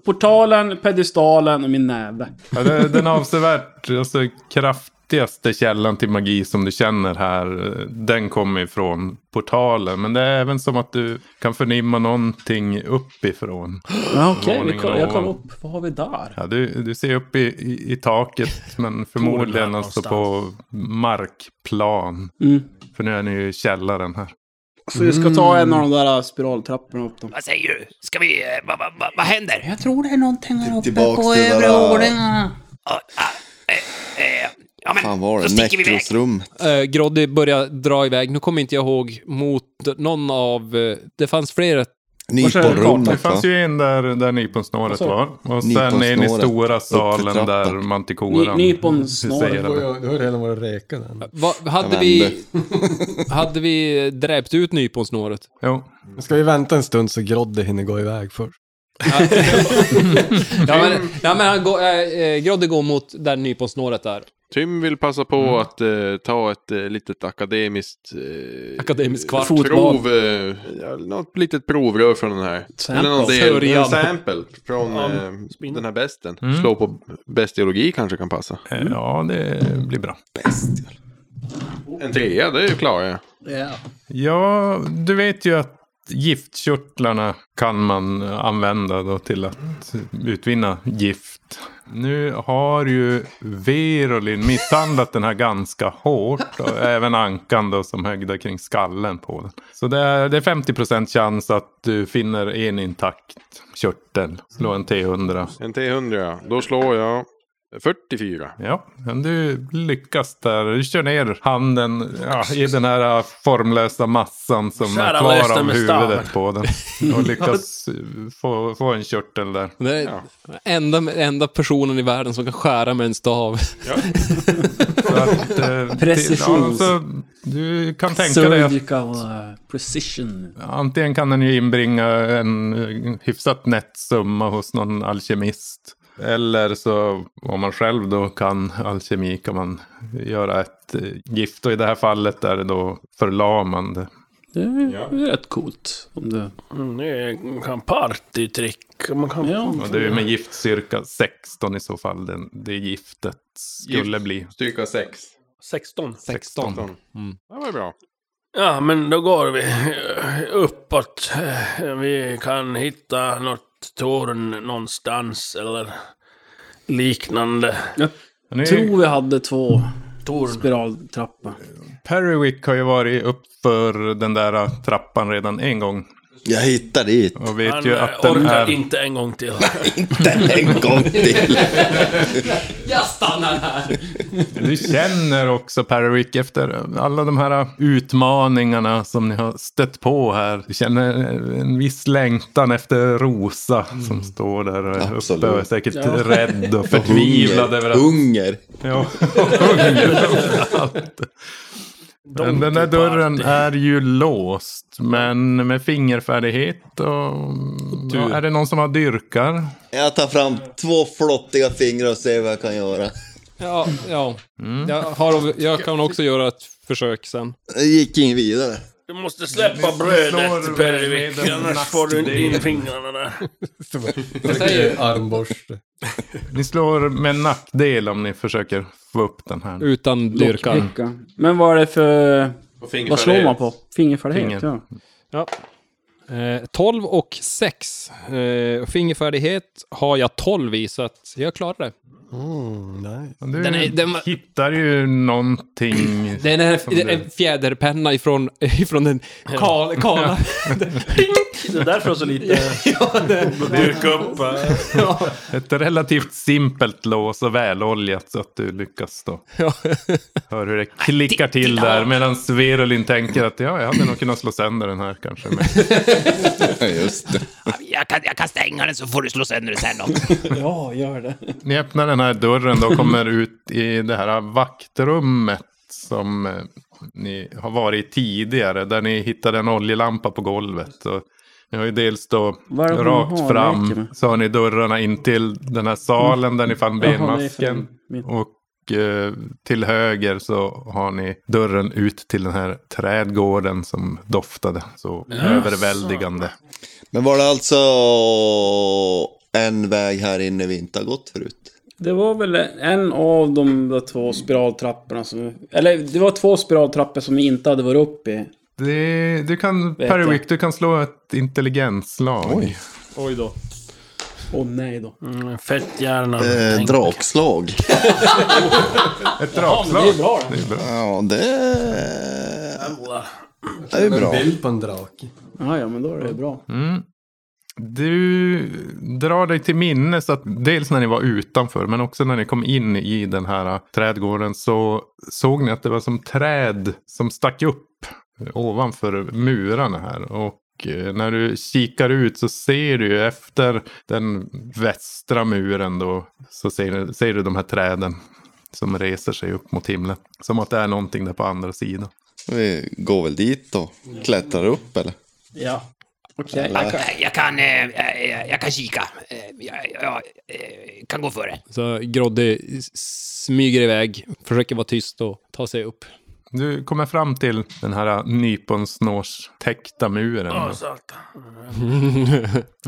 S4: portalen, pedestalen och min näve.
S3: Ja, det är den avsevärt alltså, kraftigaste källan till magi som du känner här. Den kommer ifrån portalen. Men det är även som att du kan förnimma någonting uppifrån.
S4: Ja, Okej, vi
S3: Våningen
S4: koll- jag
S3: ovan.
S4: kollar upp. Vad har vi där?
S3: Ja, du, du ser upp i, i, i taket men förmodligen alltså på markplan.
S4: Mm. Alltså,
S3: För nu är ni ju i källaren här.
S4: Så
S8: Mm.
S4: vi ska ta en av de där eh, spiraltrapporna upp dem.
S7: Vad säger du? Ska vi... eh, Vad va, va, vad händer?
S4: Jag tror det är någonting här uppe
S8: Tillbaks
S4: på eh,
S8: till det
S4: övre
S8: där-
S4: våningen.
S7: Ah, ah, eh, eh, ja, men
S8: Fan var
S7: då
S8: det?
S7: sticker vi iväg.
S8: Nekrosrum.
S9: Eh, Groddy börjar dra iväg. Nu kommer inte jag ihåg mot någon av... eh, det fanns flera.
S3: Det
S8: Nyponrummet va?
S3: fanns ju en där, där nyponsnåret
S4: Alltså,
S3: var. Och sen in i
S8: Nyponsnåret.
S3: stora
S8: Upp
S3: salen
S8: för
S3: där
S8: trappan.
S3: mantikoran
S4: Ny- nyponsnåret
S5: Du
S3: huserade.
S5: har ju redan varit räkad än.
S9: Eh, Va, hade,
S8: Jag
S9: vi, [laughs] hade vi dräpt ut nyponsnåret?
S3: Jo.
S5: Ska vi vänta en stund så Grodde hinner gå iväg först?
S4: [laughs]
S9: [laughs] Ja, men, ja, men han går, eh, eh, Groddy går mot där nyponsnåret är.
S11: Tim vill passa på
S4: Mm.
S11: att eh, ta ett eh, litet akademiskt... Eh,
S9: Akademiskt kvart.
S4: Fotboll.
S11: Prov, eh, ja, något litet provrör från den här.
S4: Sample. Mm.
S11: Eller någon del,
S9: Teorian.
S11: en sample från eh, den här besten. Slå på bestiologi kanske kan passa.
S3: Mm. Eh,
S11: Mm.
S3: Ja, det blir bra.
S11: En trea, det är ju klarar jag.
S4: Ja.
S3: Ja, du vet ju att giftkörtlarna kan man använda då till att utvinna gift. Nu har ju Verolin misshandlat den här ganska hårt. Och även ankan då som högda kring skallen på den. Så det är, det är 50% chans att du finner en intakt körtel. Slå en T100.
S11: En T100, då slår jag 44.
S3: Ja, men du lyckas där. Du kör ner handen ja, i den här formlösa massan som
S2: Kära
S3: är kvar
S2: lösten
S3: av
S2: med
S3: huvudet på den. Och
S9: [laughs]
S3: lyckas eh, få, få en körtel där.
S9: Det är enda, enda personen i världen som kan skära med en stav. [laughs]
S3: Så att, eh,
S4: Precision.
S3: till- ja, så du kan tänka dig att
S4: Surgical eh, precision.
S3: antingen kan den ju inbringa en eh, hyfsat nätt summa hos någon alkemist. Eller så om man själv då kan alkemi kan man göra ett eh, gift. Och i det här fallet är det då förlamande.
S4: Det är, det är rätt coolt. Om det...
S2: Mm, det är- kan partytrick. Man kan...
S4: Ja.
S3: Och det är med gift cirka 16 i så fall den, det giftet skulle bli.
S11: Styrka 6.
S2: 16.
S9: 16.
S3: Mm.
S11: Det var ju bra.
S2: Ja, men då går vi eh, uppåt. Eh, Vi kan hitta något torn någonstans eller liknande.
S3: Men det är-
S4: Tror vi hade två
S2: torn.
S4: Spiraltrappa.
S3: Perrywick har ju varit upp för den där trappan redan en gång.
S8: Jag hittar dit.
S3: Och vet
S2: Han
S3: ju
S2: eh,
S3: att den
S2: orkar
S3: är...
S2: inte en gång till.
S8: [laughs] inte en gång till.
S9: Jag stannar här.
S3: Du känner också Perrick efter alla de här utmaningarna som ni har stött på här. Du känner en viss längtan efter Rosa som står där
S8: Mm. Absolut.
S3: uppe och är säkert
S8: Ja. [laughs]
S3: rädd och förtvivlad
S8: Hunger.
S3: över att...
S8: Hunger.
S3: Ja, hunger framför allt. Men den där dörren är ju låst, men med fingerfärdighet och... Ja, är det någon som har dyrkar?
S8: Jag tar fram två flottiga fingrar och ser vad jag kan göra.
S9: Ja, ja.
S3: Mm.
S9: Jag, har, jag kan också göra ett försök sen.
S8: Det gick in vidare.
S2: [laughs] Du måste släppa brödet, Pervik,
S3: med en
S2: annars får du inte in
S3: nackdel.
S2: fingrarna [laughs]
S3: [laughs]
S2: där.
S9: Jag säger
S5: Armborste.
S3: [laughs] Ni slår med nackdel om ni försöker få upp den här.
S9: utan dyrkan.
S4: Lockpicka. Men vad är det för...
S11: fingerfärdighet.
S4: Vad slår man på? Fingerfärdighet,
S3: Finger.
S4: ja.
S9: Ja. Eh, 12 och 6. Eh, fingerfärdighet har jag 12 i, så att jag klarar det.
S5: Mm, nice.
S3: Du
S9: Den är- den var-
S3: hittar ju någonting.
S9: [clears throat] Det är en,
S3: som
S9: det
S3: du-
S9: är en fjäderpenna ifrån, ifrån den kal, kala...
S2: Det är därför jag har
S9: [laughs]
S2: så lite... Dyrka upp.
S3: [laughs]
S2: eh.
S3: Ett relativt simpelt lås och väloljat så att du lyckas då.
S9: Ja.
S3: Hör hur det klickar till där medan Sverolin tänker att ja, jag hade nog kunnat slå sönder den här kanske.
S9: [laughs]
S3: Men
S8: Just det.
S7: Jag kan, jag kan stänga den så får du slå sönder den sen då.
S4: [laughs] Ja, gör det.
S3: ni öppnar den här dörren då och
S4: [laughs]
S3: kommer ut i det här vaktrummet som eh, ni har varit i tidigare. Där ni hittade en oljelampa på golvet. Och ni har ju dels då
S4: Vad är det hon har?
S3: rakt
S4: Jag leker
S3: fram
S4: med.
S3: så har ni dörrarna in till den här salen där ni fann
S4: Jaha, det är för
S3: benmasken.
S4: min-
S3: Och eh, till höger så har ni dörren ut till den här trädgården som doftade så överväldigande.
S8: Men var det alltså en väg här inne vi inte har gått förut?
S4: Det var väl en av de där två spiraltrapporna som... Eller det var två spiraltrappor som vi inte hade varit uppe i.
S3: Det, du kan,
S4: Vet
S3: Perwick, du kan slå ett intelligensslag.
S4: Oj då. Åh nej då.
S2: Mm, Fetthjärnan.
S8: Eh,
S2: Tänk.
S8: drakslag.
S3: Ett dragslag.
S4: Det är bra det.
S3: Det är bra.
S8: Ja, det... Det är bra.
S5: Bild på en drake.
S4: Ja, ja, men då är det bra.
S3: Mm. Du drar dig till minnes att dels när ni var utanför men också när ni kom in i den här trädgården så såg ni att det var som träd som stack upp ovanför murarna här. Och eh, när du kikar ut så ser du ju efter den västra muren då så ser du, ser du de här träden som reser sig upp mot himlen. Som att det är någonting där på andra sidan.
S8: Vi går väl dit och klättrar upp eller?
S4: Ja. Okej.
S7: Jag, jag, kan, eh, eh, jag, jag kan kika. Eh, Jag, jag eh, kan gå före.
S9: Så Grodde s- smyger iväg, försöker vara tyst och ta sig upp.
S3: Du kommer fram till den här nyponsnårstäckta muren.
S2: Åh, satan.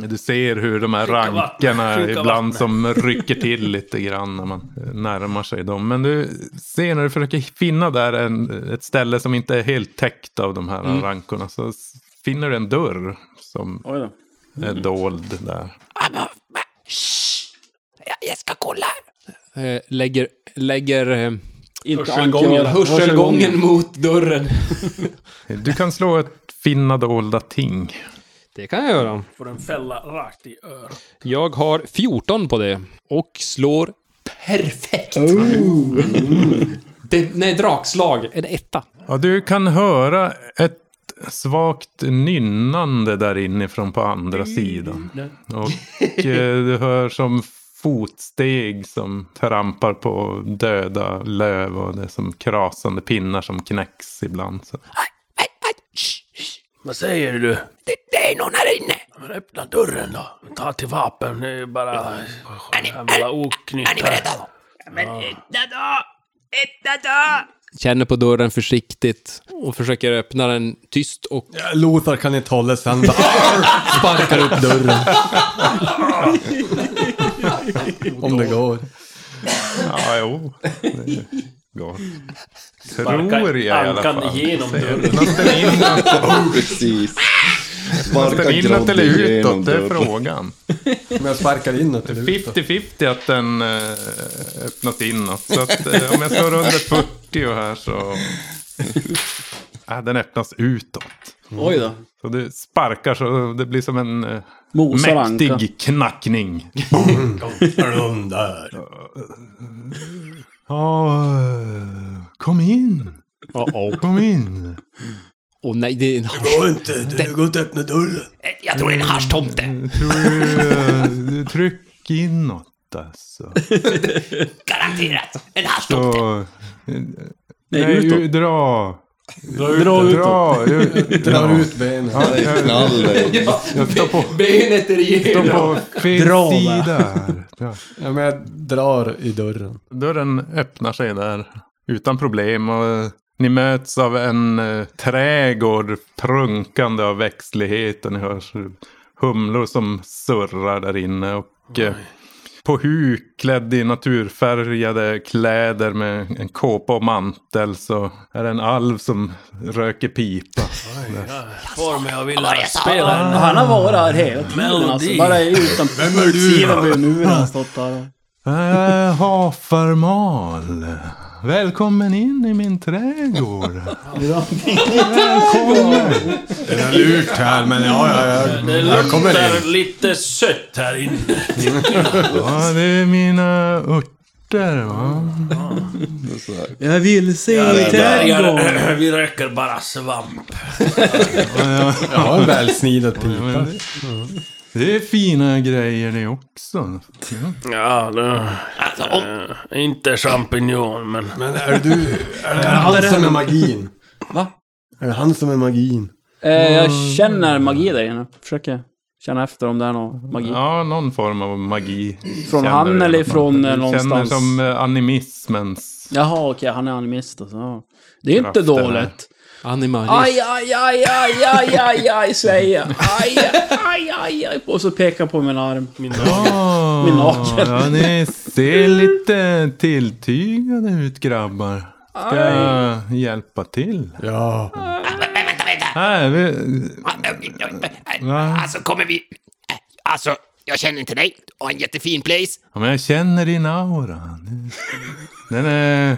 S3: Du ser hur de här
S2: Skicka vatten,
S3: rankarna
S2: skicka
S3: ibland
S2: vatten.
S3: som rycker till lite grann när man eh, närmar sig dem. Men du ser när du försöker finna där en, ett ställe som inte är helt täckt av de här rankorna. Så s- finner du en dörr som
S4: Oj då.
S3: är dold där.
S7: Ah, men, men, shh. Jag, jag ska kolla.
S9: [laughs] Eh, lägger... lägger eh,
S4: Inte
S9: hörselgången,
S4: ankevara.
S9: hörselgången mot
S2: [laughs]
S9: dörren.
S3: [laughs] Du kan slå ett finna dolda ting.
S9: Det kan jag göra.
S2: Får en fälla rakt i örat.
S9: Jag har 14 på det och slår perfekt.
S3: Oh.
S9: Det, nej, drakslag. En etta.
S3: Ja, du kan höra ett svagt nynnande där inifrån på andra
S2: Mm.
S3: sidan. Och eh, du hör som fotsteg som trampar på döda löv och det är som krasande pinnar som knäcks ibland. Så.
S7: Aj, aj, aj, shh, shh.
S2: Vad säger du?
S7: Det, det är någon här inne.
S2: Men öppna dörren då. Ta till vapen. Det är bara... Jävla oknytt
S7: Är ni
S2: här.
S7: beredda? Men etta då! Etta då!
S9: Känner på dörren försiktigt och försöker öppna den tyst och
S5: Ja, Lothar kan inte hålla sig.
S9: [laughs]
S5: Han bara sparkar upp dörren. [laughs] Om det går.
S3: Ja, jo. Det går. Tror jag i alla
S2: ankan
S3: fall.
S2: igenom dörren.
S3: Öppnas den inåt-
S2: [laughs]
S8: Precis.
S3: öppnas den inåt eller utåt? Det är
S8: dörren.
S3: frågan.
S5: Om jag sparkar inåt eller utåt.
S3: 50-50 att den eh, öppnas inåt. Så att, eh, om jag slår under 40 40 här så... äh, den öppnas utåt.
S9: Mm.
S4: Oj då.
S3: Så du sparkar så det blir som en eh,
S4: Mosar anka.
S3: mäktig
S9: [laughs]
S3: knackning.
S5: Hallå där.
S3: Ja, eh, kom in. Kom in.
S9: Åh nej, det är en
S5: Det går inte. Det går inte att öppna dörren.
S7: Eh, Jag tror det är en
S4: Mm. [laughs]
S7: haschtomte.
S3: Tror du, eh, Mm, du tryck inåt alltså.
S7: [laughs] Garanterat. En haschtomte.
S3: Så, eh,
S4: Nej,
S3: nej,
S4: utåt.
S3: ju- dra.
S5: Dra ut
S4: Dra
S5: den.
S4: ut
S3: Dra. ut-
S5: Dra
S3: ja.
S5: ut benen.
S3: Ja, jag,
S8: Knall.
S3: [laughs]
S8: eh,
S3: jag står på,
S9: Benet är
S3: står
S9: igenom.
S3: på fel
S4: Dra, va?
S3: sida här. Dra.
S5: Ja, men jag drar i dörren.
S3: Dörren öppnar sig där utan problem och eh, ni möts av en eh, trädgård prunkande av växtligheten. Ni hör så- humlor som surrar där inne och eh, på huk klädd i naturfärgade kläder med en kåpa och mantel så är det en alv som röker pipa.
S2: Får mig att vilja
S7: jag sa.
S2: spela
S4: Ja,
S2: en...
S4: Han har varit här hela tiden alltså.
S2: Melodi.
S4: Bara utan utsidan på nu har
S3: [laughs]
S4: han stått där.
S3: Äh, Hafermal. Välkommen in i min trädgård. Välkommen.
S5: Den är lurt här, men ja, ja, ja.
S2: Det
S5: Jag kommer
S2: luktar
S5: in.
S2: lite sött här inne.
S3: Ja, det är mina örter va.
S4: Jag vill se
S8: det där.
S5: [clears throat]
S2: Börjar, vi röker bara svamp.
S5: Jag har en välsnidad pipa.
S3: Det är fina grejer det också.
S2: Ja, det...
S4: Alltså,
S2: Eh, inte champinjon, men...
S5: Men är du... Är det han som är magin?
S4: Va?
S5: Är det han som är magin?
S4: Eh, jag
S5: Mm.
S4: känner magi där inne. Försöker känna efter om det är någon magi.
S3: Ja, någon form av magi.
S4: Från
S3: känner
S4: han
S3: du.
S4: eller från eh,
S3: Känner
S4: någonstans?
S3: som eh, animismens.
S4: Jaha, okej, han är animist alltså. Ja. Det är inte
S3: Krafterna.
S4: dåligt. Aj,
S9: Animalist.
S4: aj, aj, aj, aj, aj, aj, säger jag. Aj, aj, aj, aj. Och så pekar jag på min arm. Min
S3: Ja,
S4: [laughs] Min nakel.
S3: Ah, Ja, ni
S4: [laughs]
S3: ser lite tilltygade ut grabbar. Ska jag hjälpa till?
S5: Ja.
S7: Vä- vä- Vänta, vänta.
S3: Här, vi, Va?
S7: Alltså kommer vi... Alltså, jag känner inte dig. Du har en jättefin place.
S3: ja, men jag känner din aura. Den är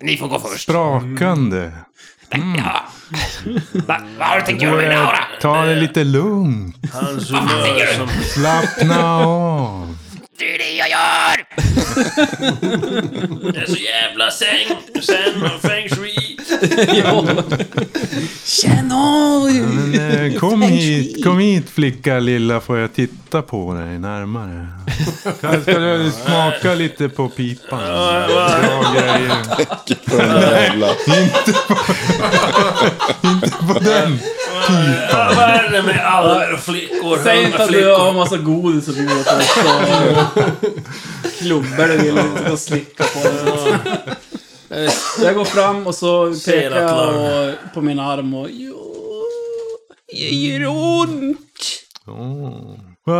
S7: Ni får gå först.
S3: sprakande.
S4: Mm.
S7: Ja. Va, vad har du tänkt göra med den aura?
S3: Ta det lite lugnt.
S2: Hans humör som...
S3: Slappna av.
S7: Det är det jag gör!
S2: Det är så jävla säng... Sen och feng
S7: [laughs]
S2: shui.
S3: Men,
S4: [laughs]
S3: eh, kom, hit, kom hit flicka lilla får jag titta på dig närmare. Kan- Ska du smaka lite på pipan? Bra grejer.
S8: För en jävla...
S3: [laughs] På den.
S2: Ja, Vad är det med alla er flickor?
S4: Säg inte att du
S2: flickor.
S4: har massa godis och bjuder på också. Klubbor du vill inte ska slicka på. Eh, Jag går fram och så pekar jag och- på min arm och... Jo, det gör ont.
S3: Va,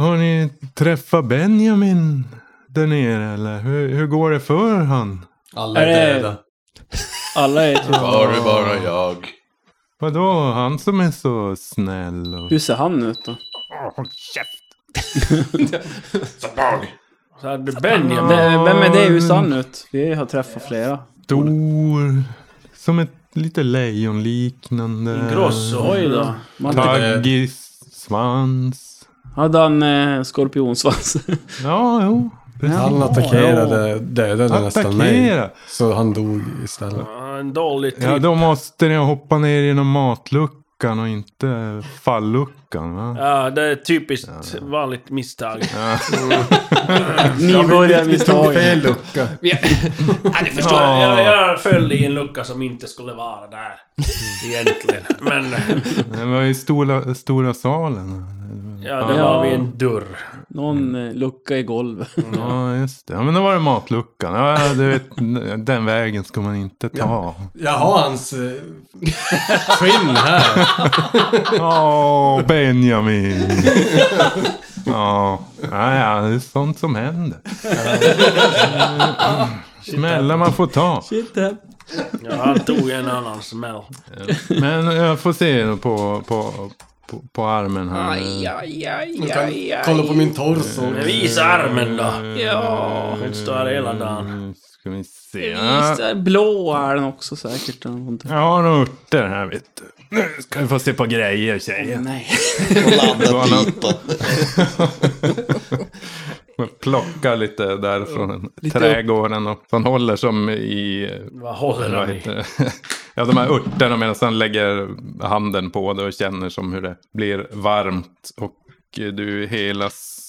S3: har ni träffat Benjamin där nere eller? Hur, hur går det för han?
S5: Alla
S4: Är det- Alla är typ...
S11: Var det bara jag?
S3: Vadå, han som är så snäll och...
S4: Hur ser han ut då?
S11: [laughs]
S2: Så hade Benjamin...
S4: Vem vem är det? Hur ser han ut? Vi har träffat flera.
S3: Stor. Som ett lite lejonliknande.
S2: Grosso.
S4: Oj då. Man,
S3: Taggig svans.
S4: hade han eh, skorpionsvans?
S3: Ja, jo.
S5: Han attackerade, dödade nästan mig.
S3: Attackera!
S5: Så han dog istället.
S2: Ja, En dålig
S3: Ja,
S2: tripp.
S3: då måste ni hoppa ner genom matluckan och inte falluckan, va?
S2: Ja, det är typiskt vanligt misstag. Mm. [laughs]
S4: Ni börjar med taget.
S5: lucka.
S7: Ja, du förstår.
S3: Ja.
S2: Jag, jag föll i en lucka som inte skulle vara där. Egentligen. Men
S3: Det var i stora, stora salen.
S2: ja, det
S4: Ja.
S2: var vid en dörr.
S4: Någon eh, lucka i golvet.
S3: Ja, just det. Ja, men då var det matluckan. Ja, du vet, den vägen ska man inte ta.
S5: Jag har hans eh, [laughs] skinn här.
S3: [laughs] Åh, Benjamin! Ja, ja, ja, det är sånt som händer. Smällar man får ta.
S2: Ja, han tog en annan smäll.
S3: Men jag får se på, på, på, på armen här.
S2: Aj, aj, aj,
S5: kan
S2: aj, aj.
S5: kolla på min torso.
S2: Men Visa armen då!
S4: Ja.
S2: Inte stå här hela dagen.
S3: Nu Eh, Mm, ska vi se.
S4: Visst, är blå är den också säkert. eller någonting.
S3: Jag har några örter här vet du. Nu ska vi få se på grejer tjejer.
S4: Nej.
S3: Då
S8: Laddat
S3: han-
S8: pipa.
S3: Man plockar lite där från trädgården och han håller som i...
S2: Vad håller
S3: vad
S2: han i?
S3: heter det? Ja, de här örterna medan han lägger handen på det och känner som hur det blir varmt. Och du helas...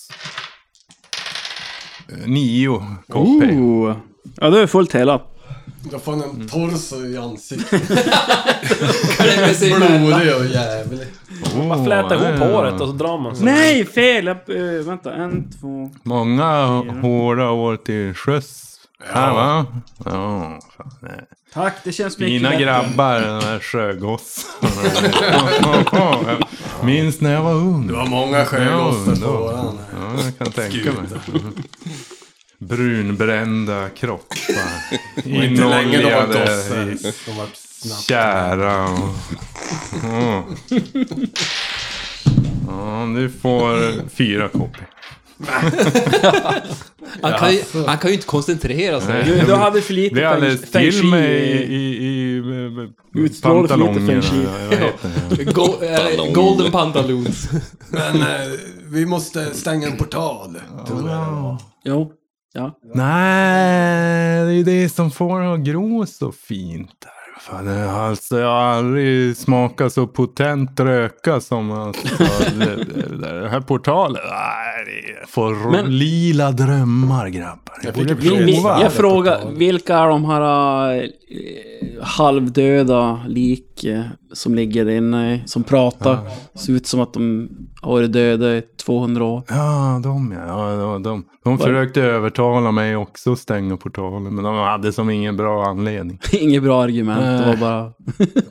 S3: Nio KP.
S4: Oh. Ja, du är fullt hela.
S5: Då får han
S3: Mm.
S5: en torso i ansiktet.
S9: med sig
S5: Blodig och jävlig.
S2: Bara fläta ihop håret och så drar man sig.
S4: Nej, fel! Jag, eh, vänta, en, två...
S3: Många hårda år till sjöss. Här va? Ja. fan, nej.
S4: Tack, det känns mycket
S3: Mina
S4: bättre.
S3: grabbar, de här sjögossarna. Jag [laughs] Minns när jag var ung. Det
S5: var många sjögossar på våran. alltså.
S3: Ja, jag kan tänka mig. [laughs] Brunbrända
S5: [laughs]
S3: kroppar.
S5: inte länge de var
S3: Inoljade
S5: gossar.
S3: i
S5: De var snabbt.
S3: tjära och...
S5: [laughs]
S3: Ja. Ja, du får fyra KP.
S5: [laughs]
S9: Han kan, ju, han kan ju inte koncentrera sig.
S4: Du, du hade för lite
S3: Det är alldeles
S4: feng- feng
S3: till mig i,
S4: shui.
S3: i, i, eh, i
S4: Utstrålar för lite
S3: pantalongerna.
S4: feng shui.
S3: Vad heter det?
S9: [laughs] Go, eh, golden pantaloons.
S5: Men eh, vi måste stänga en portal. Tror jag.
S4: Jo. Ja.
S3: Nej, det är ju det som får ha grå så fint. där. Fan, det- Alltså jag har aldrig smakat så potent röka som
S9: [laughs]
S3: alltså, det, det, det, det här portalen. Nej, det får
S4: Men-
S3: lila drömmar grabbar. Jag borde
S4: Vi, vi,
S3: prova.
S4: jag frågar, vilka är de här eh, halvdöda lik eh, som ligger där inne, som pratar? Ser ut som att de har varit döda i 200 år.
S3: Ja, de ja. ja de, de, de försökte övertala mig också att stänga portalen. Men de hade som ingen bra anledning.
S4: [laughs] Inget bra argument, det var bara...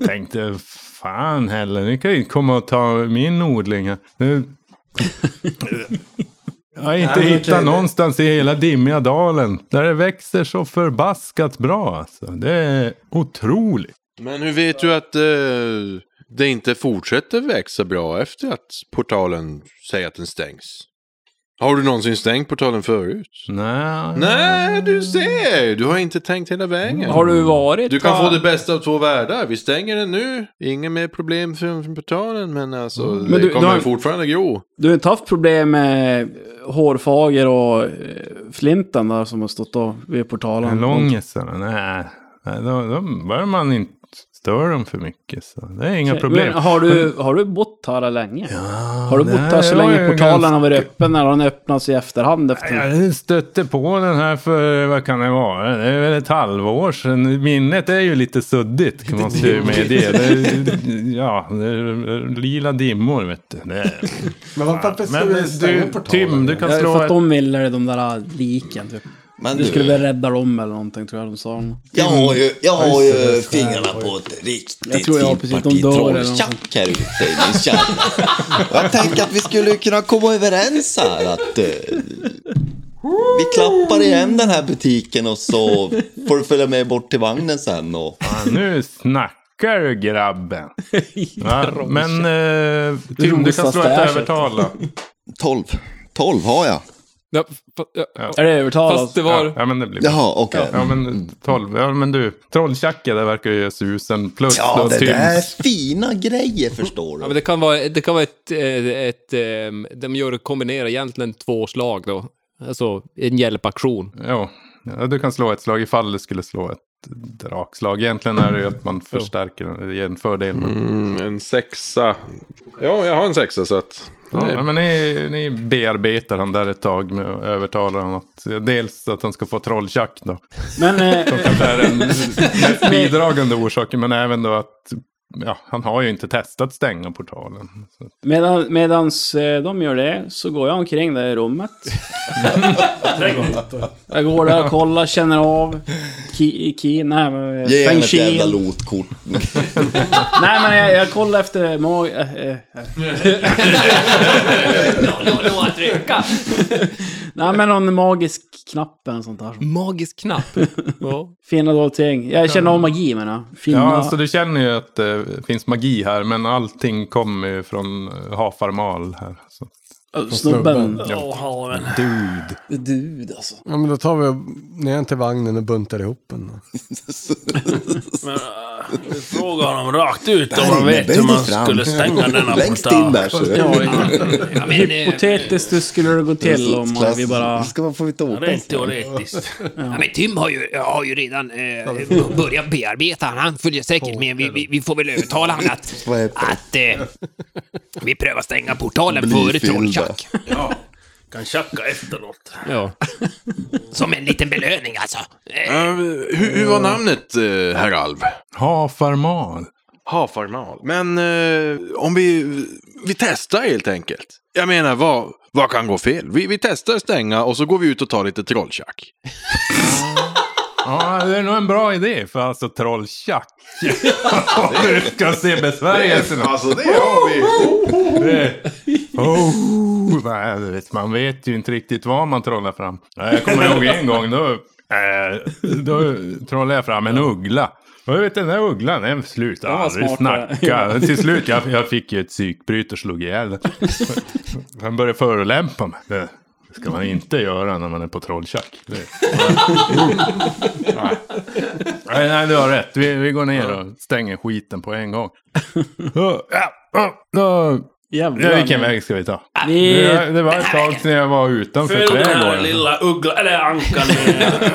S3: tänkte, fan heller, ni kan ju inte komma och ta min odling här. Nu... Jag har inte
S5: Nej, men
S3: hittat
S5: okej.
S3: någonstans i hela dimmiga dalen där det växer så förbaskat bra. Alltså. Det är otroligt.
S11: Men hur vet du att eh, det inte fortsätter växa bra efter att portalen säger att den stängs? Har du någonsin stängt portalen förut?
S3: Nej.
S11: Nej, du ser! Du har inte tänkt hela vägen.
S4: Har du varit
S11: Du kan
S4: här?
S11: få det bästa av två världar. Vi stänger den nu. Inga mer problem från från portalen, men alltså det
S4: Mm. du- du
S11: kommer
S4: har-
S11: fortfarande gro.
S4: Du har inte haft problem med eh, hårfager och eh, flinten där som har stått och vid portalen?
S3: Men Långisarna, nej. nej de, de bör man inte störa dem för mycket. Så. Det är inga problem.
S4: Men har, du, har du bott här länge? har du bott
S3: nej,
S4: här så
S3: jag är
S4: länge portalen
S3: ganska-
S4: har varit öppen eller har den öppnats i efterhand? Efter...
S3: Jag stötte på den här för, vad kan det vara, det är väl ett halvår sedan. Minnet är ju lite suddigt, kan man ju medge. Det är- Ja, det är lila dimmor, vet du. Det
S9: [laughs]
S3: är-
S5: Men varför ska
S3: Men
S5: vi stänga
S3: du,
S5: portalen?
S3: Tim, du kan
S4: Ja,
S3: slå
S4: för att
S3: ett...
S4: de ville det, de där liken. Typ.
S8: Men
S4: Du skulle
S8: du,
S4: väl rädda dem eller någonting tror jag de sa.
S8: jag har ju, jag har ju fingrarna på ett riktigt
S4: Jag tror jag har
S8: fint
S4: precis- de
S8: parti
S4: dör eller
S8: trolltjack här ute i min källa. [laughs] Jag tänker att vi skulle kunna komma överens här att eh, vi klappar igen den här butiken och så får du följa med bort till vagnen sen och
S3: Ja, Nu snackar du, grabben. Va? Men eh, Tim, du kan slå ett
S4: Rosa
S3: [laughs] övertala.
S8: 12. 12 har jag.
S9: Ja, fa- ja,
S4: Är det övertalat?
S9: fast det
S3: Ja,
S9: var...
S3: ja, men det blir bra.
S8: Jaha, okej.
S3: Ja, men 12. Ja, men du, trolltjacka, det verkar ju göra susen. Plus
S8: Ja,
S3: då
S8: det där är
S3: Tims
S8: fina grejer förstår
S9: [laughs] Ja,
S8: du.
S9: men det kan vara, det kan vara ett, eh, ett, ehm, De gör kombinera egentligen två slag då. Alltså en hjälpaktion.
S3: Ja, ja, du kan slå ett slag ifall du skulle slå ett drakslag. Egentligen är det ju att man förstärker den, det ger en fördel.
S11: Mm, en sexa. Ja, jag har en sexa så att...
S3: Ja, men ni, ni bearbetar han där ett tag med att övertala honom att dels att han ska få trolltjack då.
S4: Men eh,
S3: Det är den
S4: [laughs]
S3: mest bidragande orsaken, men även då att ja, han har ju inte testat stänga portalen. Så.
S4: medan, medans eh, de gör det så går jag
S3: [laughs]
S4: omkring där i rummet. jag går där och kollar, känner av. Ki, ki, nej, men, eh,
S8: Ge henne
S4: Feng
S8: ett
S4: Shui.
S8: jävla [laughs] lotkort.
S4: [laughs] Nej, men jag, jag kollar efter Moj... eh, eh.
S10: Låt trycka.
S4: eh. [laughs] Nej, men någon magisk knapp eller något sånt där.
S9: Magisk knapp?
S4: [laughs] Fina dolda ting. Jag känner av magi menar jag. Fina...
S3: Ja, alltså du känner ju att det finns magi här, men allting kommer ju från eh, Hafarmal här. Så.
S4: Från snubben.
S2: Åh, haven.
S3: Dude.
S8: Dude alltså.
S5: Ja men då tar vi ner den till vagnen och buntar ihop
S3: [laughs]
S5: den. då.
S2: Men, äh, fråga honom rakt ut om han vet hur man skulle stänga denna
S8: Längst in där så.
S4: Ja,
S2: eh,
S4: Hypotetiskt hur skulle det gå till om man- vi bara...
S8: Ska man få lite åka?
S2: Rent
S4: [laughs]
S2: teoretiskt.
S10: Ja, men Tim har ju, har ju redan eh, börjat bearbeta han. Han följer säkert med. Vi, vi, vi får väl övertala honom att,
S8: Vad heter det?
S10: att eh, vi prövar stänga portalen före
S8: Blyfyllda.
S10: Trolltjack.
S2: Kan tjacka efteråt.
S9: Ja.
S10: Som en liten belöning alltså. Eh,
S11: Eh, hur, hur var namnet, eh, herr Alv?
S3: Hafarmal.
S11: Hafarmal. Men eh, om vi... Vi testar helt enkelt. Jag menar, vad, vad kan gå fel? Vi, vi testar stänga och så går vi ut och tar lite trolltjack.
S3: Ja, det är nog en bra idé, för alltså trolltjack. [laughs] Om du ska se besvärjelserna.
S11: Alltså det har vi!
S3: Det- Oh, nej, du vet, man vet ju inte riktigt vad man trollar fram. Ja, Jag kommer ihåg en gång, då, eh, då trollade jag fram en uggla. Och du vet den där ugglan, den slutade
S4: Den var
S3: aldrig
S4: smartare.
S3: snacka. Till slut, jag, jag fick ju ett psykbryt och slog ihjäl den. Han började förolämpa mig. Det ska man inte göra när man är på trolltjack. Det- Nej. Nej, nej, du har rätt. Vi, vi går ner och stänger skiten på en gång. Ja, ja, ja.
S4: Jävlar.
S3: Ja, vilken väg ska vi ta?
S4: Ni...
S3: Det, det var ett tag sedan jag var utanför
S2: Följ den här
S3: trädgården.
S2: lilla ugglan, eller ankan. eh,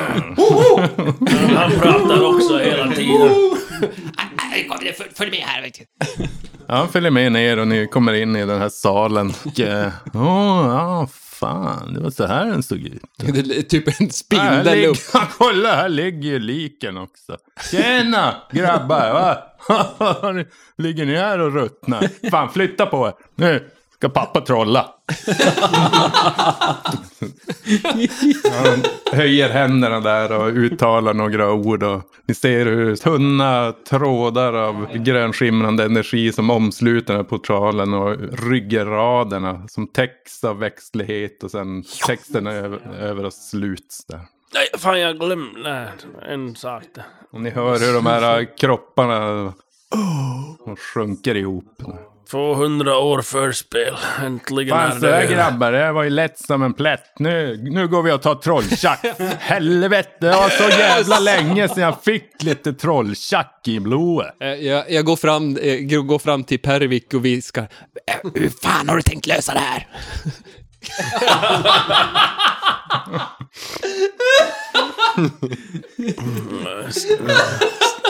S2: Men han pratar också hela tiden.
S10: eh, kom, följ- Följ med här. vet du.
S3: Han följer med ner och ni kommer in i den här salen. Och, eh, Åh, ja, fan. Det var så här den såg ut.
S9: Det är typ en
S3: Här
S9: spindel upp.
S3: ligger, [laughs] kolla, här ligger ju liken också. Tjena grabbar! Va? Nu ligger ni här och ruttnar? Fan, flytta på er! Nu ska pappa trolla. Han höjer händerna där och uttalar några ord. Och ni ser hur tunna trådar av grönskimrande energi som omsluter den här portalen och ryggraderna som täcks av växtlighet och sen texten över, över och sluts där.
S2: Nej, fan jag glömde en sak. där.
S3: Och ni hör hur de här kropparna de sjunker ihop.
S2: 200 år förspel. Äntligen
S3: Fan,
S2: är
S3: så där
S2: det
S3: grabbar, det var ju lätt som en plätt. Nu, nu går vi och
S8: [laughs]
S3: tar trolltjack. Helvete, det var så jävla länge sedan jag fick lite trolltjack i blodet.
S9: Eh, Jag, jag går, fram, eh, jag går fram till Pervik och viskar.
S10: Eh, Hur fan har du tänkt lösa det här?
S2: [laughs]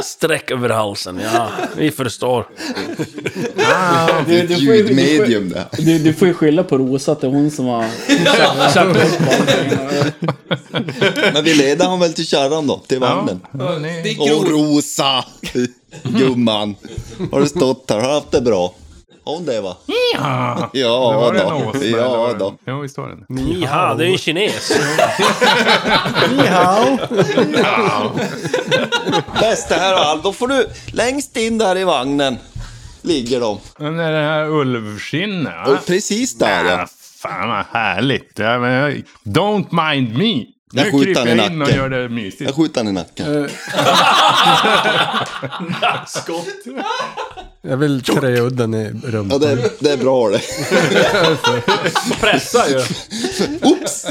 S2: Sträck över halsen, ja. Vi förstår. Ah,
S8: Det är ett
S4: du får ju- du får-
S8: ljudmedium det här.
S4: Du, du får ju skylla på Rosa att det är hon som har...
S8: [laughs] Men vi leder han väl till kärran då, till vagnen.
S9: Det är
S8: Åh,
S9: grov...
S8: Rosa! [laughs] Gumman. Har du stått här? Har du haft det bra? Har hon det va?
S3: Ja,
S8: [laughs] Ja
S3: det var det en
S8: då.
S3: åsna. det
S8: Ja
S3: var det.
S8: då.
S3: Ja, visst var det det.
S2: Jaha, det är
S8: [laughs]
S2: en kines.
S8: Bästa herr Alv, då får du längst in där i vagnen. Ligger de.
S3: Men det här ulvskinnet. va?
S8: Och precis där
S3: Ja,
S8: ja.
S3: fan vad härligt. Ja, men jag- Don't mind me.
S8: Jag
S3: Nu
S8: skjuter
S3: kryper
S8: han i
S3: jag in och
S8: nacken.
S3: gör det mysigt.
S8: Jag skjuter han i nacken.
S5: Jag vill träudden i
S8: Ja,
S5: rumpan.
S8: det är, det är bra det.
S2: [laughs] Pressa ju.
S8: Oops!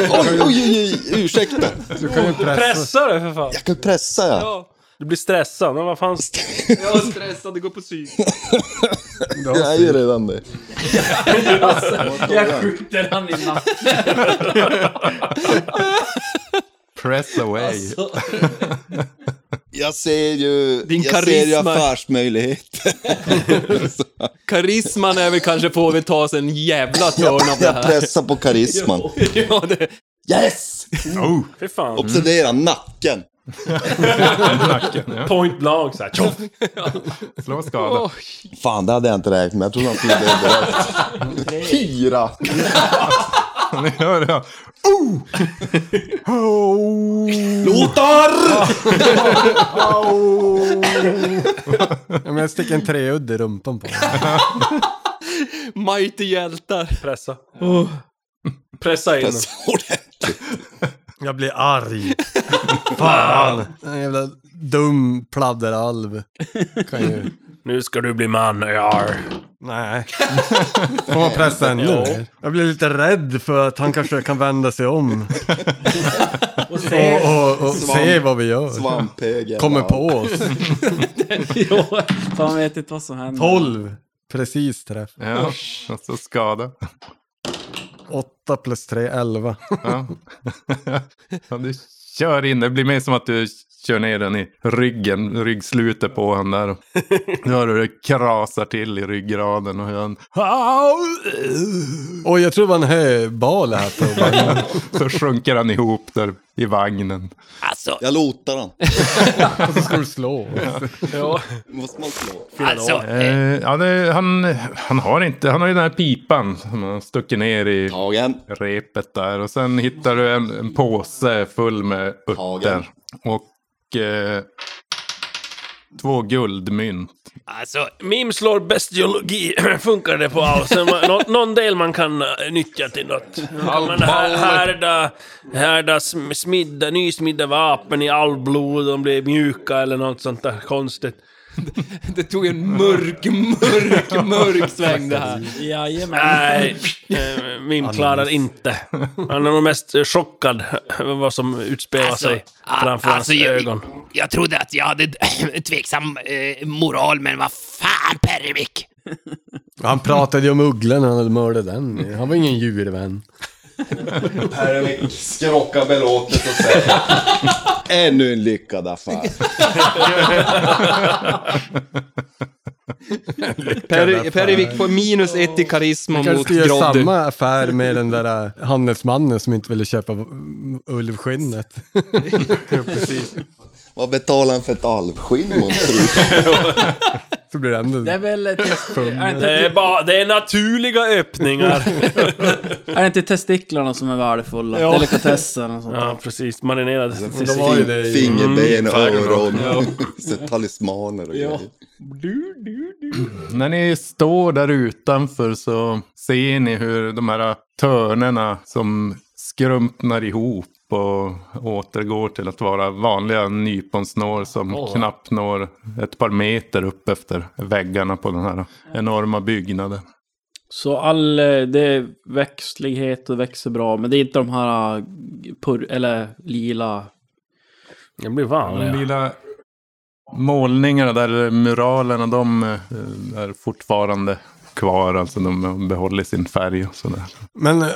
S8: Oj, oj, oj, oj, ursäkta.
S5: Du kan ju pressa.
S2: Pressa det för fan.
S8: Jag kan pressa ja.
S2: Du blir stressad. Men vad fan.
S9: [laughs] Jag är stressad, det går på psyk.
S8: Jag är ju redan [laughs]
S9: [laughs]
S8: det.
S4: jag skjuter han i nacken.
S8: [laughs]
S9: [laughs]
S3: Press away.
S8: Alltså.
S3: [laughs]
S8: Jag ser ju,
S9: Din
S8: jag ser ju
S9: karisma.
S8: affärsmöjlighet.
S9: [laughs] Karisman är väl kanske på att ta sig en jävla törn av det
S8: Jag
S9: här.
S8: pressar på
S9: [laughs]
S8: karisman.
S9: Ja, det,
S8: Yes!
S3: Oh,
S2: Fy fan.
S8: Observera nacken.
S3: nacken. Ja.
S2: Point lag såhär. Tjoff!
S3: Slå skada.
S8: Fan, det hade jag inte räknat med. Jag trodde han skulle dö direkt. Fyra!
S3: Ni hör det. här. Oh! Oh!
S8: Motor!
S5: Ja, men jag sticker en treudd i rumpan på
S9: Mighty hjältar.
S2: Pressa. Pressa in.
S5: Pressa
S2: [laughs]
S5: Jag blir arg. Fan! En jävla dum pladderalv. Kan ju...
S2: Nu ska du bli man, jag.
S5: Nej. Får man pressa ännu
S2: Jo.
S5: mer? Jag blir lite rädd för att han kanske kan vända sig om. och
S8: se-
S5: och, och se
S8: Svamp-
S5: vad vi gör.
S8: svamphögen,
S5: Kommer
S8: va?
S5: på oss.
S4: [laughs] jo, fan vet inte vad som händer.
S5: 12. Precis träff.
S3: Ja, och så skada.
S5: 8 plus 3, 11.
S4: [laughs]
S3: Ja. Ja, du kör in, det blir mer som att du kör ner den i ryggen, ryggslutet på honom
S5: [laughs]
S3: där. Nu hör du det krasar till i ryggraden och han
S5: Oj, jag tror det var en höbal här på vagnen.
S3: [laughs] Så sjunker han ihop där i vagnen.
S7: Alltså,
S8: Jag lotar han.
S5: Och så ska du slå.
S2: Ja.
S8: Måste man slå?
S7: alltså
S3: Eh, ja, det, han, han har inte, han har ju den här pipan som han stuckit ner i repet där. Och sen hittar du en, en påse full med
S8: Tagen.
S3: örter. Och eh, två guldmynt.
S2: Alltså, meme slår bestiologi. [clears throat] Funkar det på alls? Nå, någon del man kan eh, nyttja till något. Kan man här, härda, härda sm- smidda, nysmidda vapen i alvblod, de blir mjuka eller något sånt där konstigt.
S9: [laughs] Det tog en mörk, mörk, mörk sväng det här.
S4: Jajamän.
S2: Nej, eh, Mim klarar inte. Han är nog mest eh, chockad över vad som utspelar
S7: Alltså,
S2: sig
S7: a-
S2: framför
S7: alltså,
S2: hans
S7: jag-
S2: ögon.
S7: jag trodde att jag
S10: [laughs]
S7: hade tveksam eh, moral, men vad fan Perrevik!
S5: Han pratade ju om ugglan när han hade mördat den. Han var ingen djurvän.
S8: Pervik skrockar belåtet och säger Ännu en lyckad affär.
S9: Per, Perivik får minus ett i karisma
S5: Man
S9: mot
S5: kanske gör
S9: Groddy.
S5: samma affär med den där äh, handelsmannen som inte ville köpa mm,
S2: [laughs]
S5: ulvskinnet.
S8: Vad betalar han för ett alvskinn monstru?
S5: Så blir det
S4: Det är
S5: ändå...
S4: väl
S5: [laughs]
S4: ett... Är
S2: Det
S4: det
S2: är, bara, det är naturliga
S4: [laughs]
S2: öppningar.
S4: inte, är det inte testiklarna som är värdefulla?
S2: Ja.
S4: Delikatessen och sånt.
S2: Ja, precis. Marinerad. Mm.
S5: det var ju det i-
S8: Fingerben,
S3: Mm,
S8: öron, [laughs] så talismaner och grejer.
S3: När ni står där utanför så ser ni hur de här törnena som skrumpnar ihop och återgår till att vara vanliga nyponsnår som knappt når ett par meter upp efter väggarna på den här enorma byggnaden.
S4: Så all... eh, Det är växtlighet och växer bra, men det är inte de här... eh, Pur, eller lila...
S2: Jag blir varm.
S3: De
S2: ja.
S3: lilla målningarna där, eller muralerna, de eh, är fortfarande kvar. Alltså de behåller sin färg och sådär.
S5: Men äh,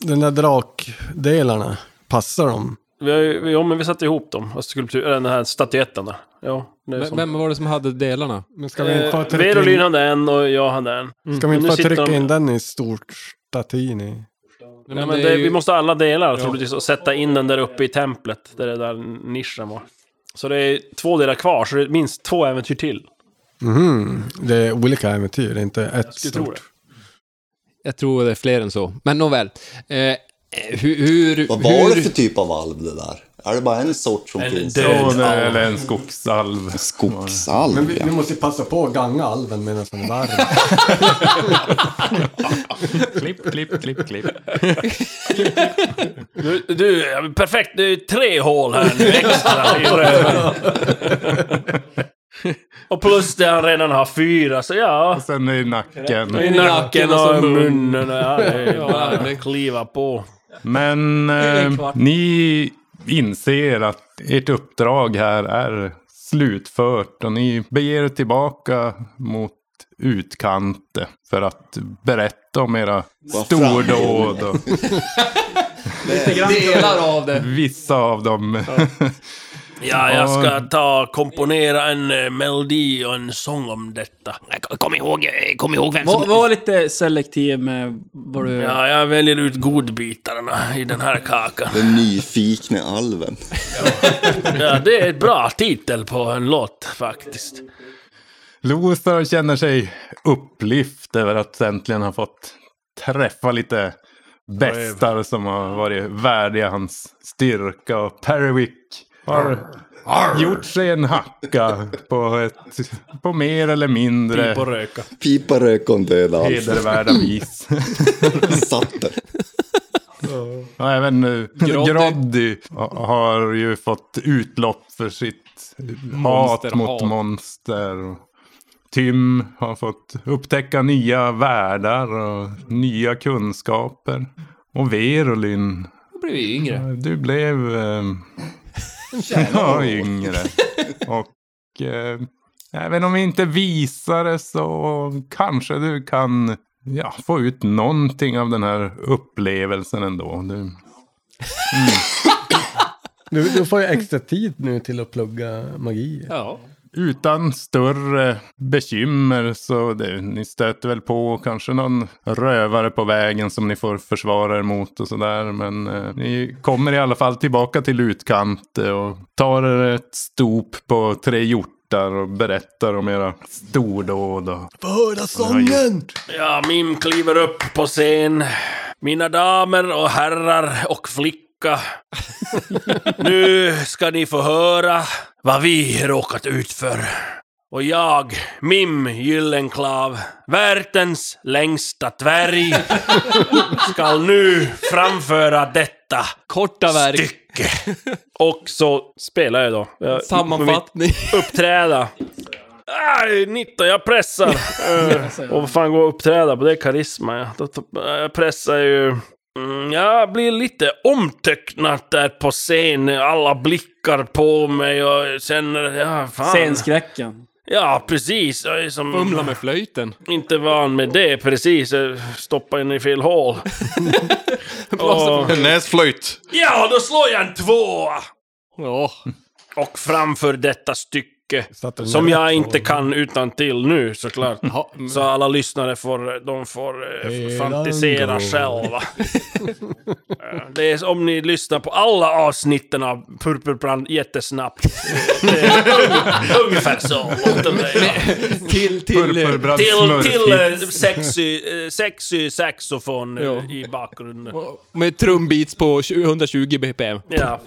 S5: den där drakdelarna, passar de?
S2: Vi har ju, ja, men vi satte ihop dem. Och skulptur, eller den här statyetten där. Ja, det är
S9: V-
S2: som-
S9: Vem var det som hade delarna?
S5: Men ska vi inte få
S2: Eh,
S5: trycka
S2: Verolyn
S5: in, Mm.
S2: hade en och jag hade en.
S5: ska vi
S2: Mm. Men nu
S5: inte få
S2: sitter
S5: trycka
S2: de-
S5: in den i stort statin i?
S9: Nej,
S2: Ja, men det, Vi måste ha alla delar troligtvis och sätta in den där uppe i templet. Där det där nischen var. Så det är två delar kvar, så det är minst två äventyr till.
S5: Mhm, det är olika äventyr, det är inte ett
S2: Skulle jag tro
S5: stort.
S2: det.
S9: Jag tror det är fler än så. Men nåväl. Eh, eh, hur... hur
S8: Vad var det
S9: hur-
S8: för typ av alv det där? Är det bara en sort som finns?
S3: Ja, det- Eller en skogsalv.
S8: Skogsalv, ja.
S5: måste passa på att ganga alven medan den
S2: [laughs]
S5: är varm.
S3: Klipp, klipp, klipp, [laughs] klipp.
S2: Du, du ja, men perfekt! Det är tre hål här nu extra i röven. Och plus det han redan har fyra, så ja.
S3: Sen i nacken.
S2: I nacken och i munnen. Ja, det är
S9: Ja,
S2: bara
S9: det-
S2: att kliva på.
S3: Men eh, ni inser att ert uppdrag här är slutfört och ni beger er tillbaka mot utkante för att berätta om era
S8: Vad
S3: stordåd. Och
S9: [laughs] Delar av det.
S3: vissa av dem.
S2: Ja, jag ska ta komponera en eh, melodi och en sång om detta.
S7: Kom ihåg, eh, kom ihåg vem
S4: Var,
S7: som...
S4: var lite selektiv med vad du...
S2: Ja, jag väljer ut godbitarna i den här kakan.
S8: Den nyfikne alven.
S2: Ja, det är ett bra titel på en låt faktiskt.
S3: Lothar känner sig upplyft över att äntligen ha fått träffa lite bästar som har varit värdiga hans styrka. Och Perwick har gjort sig en hacka på, ett, på mer eller mindre
S2: Pipa
S8: [laughs]
S3: [laughs]
S2: röka.
S8: Pipa rök om döda allt.
S3: hedervärda
S8: [laughs]
S3: vis.
S8: Satt där.
S3: Och även eh,
S9: Groddy.
S3: Groddy har ju fått utlopp för sitt hat mot
S9: Monsterhat.
S3: monster. Och Tim har fått upptäcka nya världar och nya kunskaper. Och Verolyn,
S9: Då blir vi yngre.
S3: du blev eh, ja, yngre. Och eh, även om vi inte visar det så kanske du kan ja, få ut någonting av den här upplevelsen ändå. Du, Mm.
S5: Du, du får ju extra tid nu till att plugga magi.
S9: Ja.
S3: Utan större bekymmer så det, ni stöter väl på kanske någon rövare på vägen som ni får försvara er mot och sådär. Men eh, ni kommer i alla fall tillbaka till utkant eh, och tar er ett stop på tre hjortar och berättar om era stordåd. Och...
S5: Få höra
S3: sången!
S2: Ja, Mim kliver upp på scen. Mina damer och herrar
S9: [laughs]
S2: och flicka. nu ska ni få höra vad vi råkat ut för. Och jag, Mim Gyllenklav, världens längsta dvärg, ska nu framföra detta
S9: Korta verk.
S2: stycke. Och så spelar jag då. Jag,
S9: Sammanfattning.
S2: uppträda. Aj, 19,
S9: [laughs]
S2: jag pressar. Eh, och vad fan går att uppträda på? Det är karisma. Ja. Då- då- Jag pressar ju... Mm, Jag blir lite omtöcknad där på scen. Alla blickar på mig och känner... Ja, fan.
S4: Scenskräcken.
S2: Ja, precis. Jag är som
S9: Fumla med flöjten.
S2: inte van med det precis. Jag stoppar in i fel hål.
S9: [laughs]
S2: och,
S11: Näsflöjt.
S2: ja, då slår jag en tvåa.
S9: Ja.
S2: Och framför detta stycke.
S5: Satte den
S2: Som
S5: där
S2: jag
S5: rätt
S2: inte
S5: på.
S2: kan utan till nu såklart.
S9: Ja, men-
S2: Så alla lyssnare får, de får eh,
S5: Redan
S2: fantisera
S5: då.
S2: själva. Eh, det är som om ni lyssnar på alla avsnitten av Purpurbrand jättesnabbt. Det är Ungefär så låter det.
S9: Till, till... eh,
S3: Purpurbrand
S2: Till, till
S3: smörfit.
S2: eh, sexy, eh, sexy saxofon eh,
S9: Ja.
S2: i bakgrunden.
S9: Med trumbeats på 120 bpm.
S2: Ja,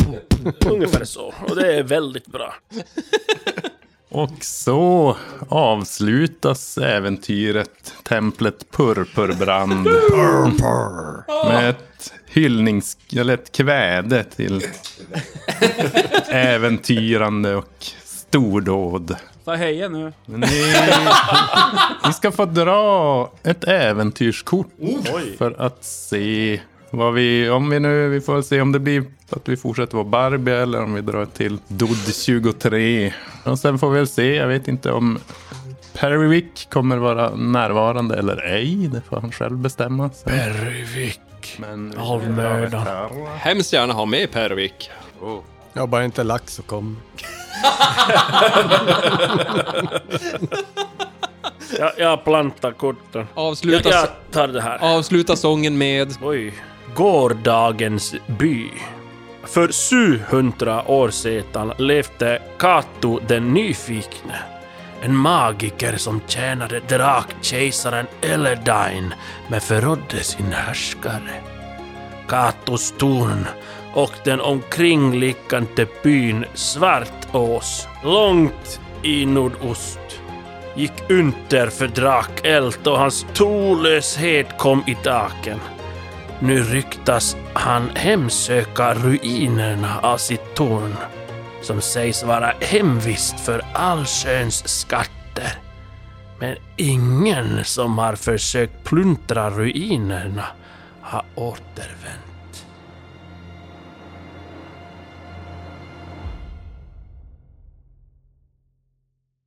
S2: ungefär så. Och det är väldigt bra.
S3: Och så avslutas äventyret Templet Purpurbrand. Med ett hyllnings... Eller ett kväde till äventyrande och stordåd.
S4: Får jag heja nu?
S3: Ni, ni ska få dra ett äventyrskort för att se vad vi... Om vi nu... Vi får se om det blir att vi fortsätter vara Barbie eller om vi drar till Dodd 23. Och sen får vi väl se. Jag vet inte om Perrywick kommer vara närvarande eller ej. Det får han själv bestämma. sen. Men...
S2: Avmördad.
S9: Hemskt gärna ha med Pervik.
S5: Ja, bara inte lax och kom.
S2: Jag, jag plantar korten. Jag,
S9: Avsluta,
S2: jag tar det här.
S9: avsluta sången med...
S2: Oj. Gårdagens by. För 700 år sedan levde Kato den nyfikne. En magiker som tjänade drakkejsaren Eldain men förrådde sin härskare. Katos torn och den omkringliggande byn Svartås, långt i nordost gick under för drakeld och hans trolöshet kom i dagen. Nu ryktas han hemsöka ruinerna av sitt torn som sägs vara hemvist för allsköns skatter. Men ingen som har försökt plundra ruinerna har återvänt.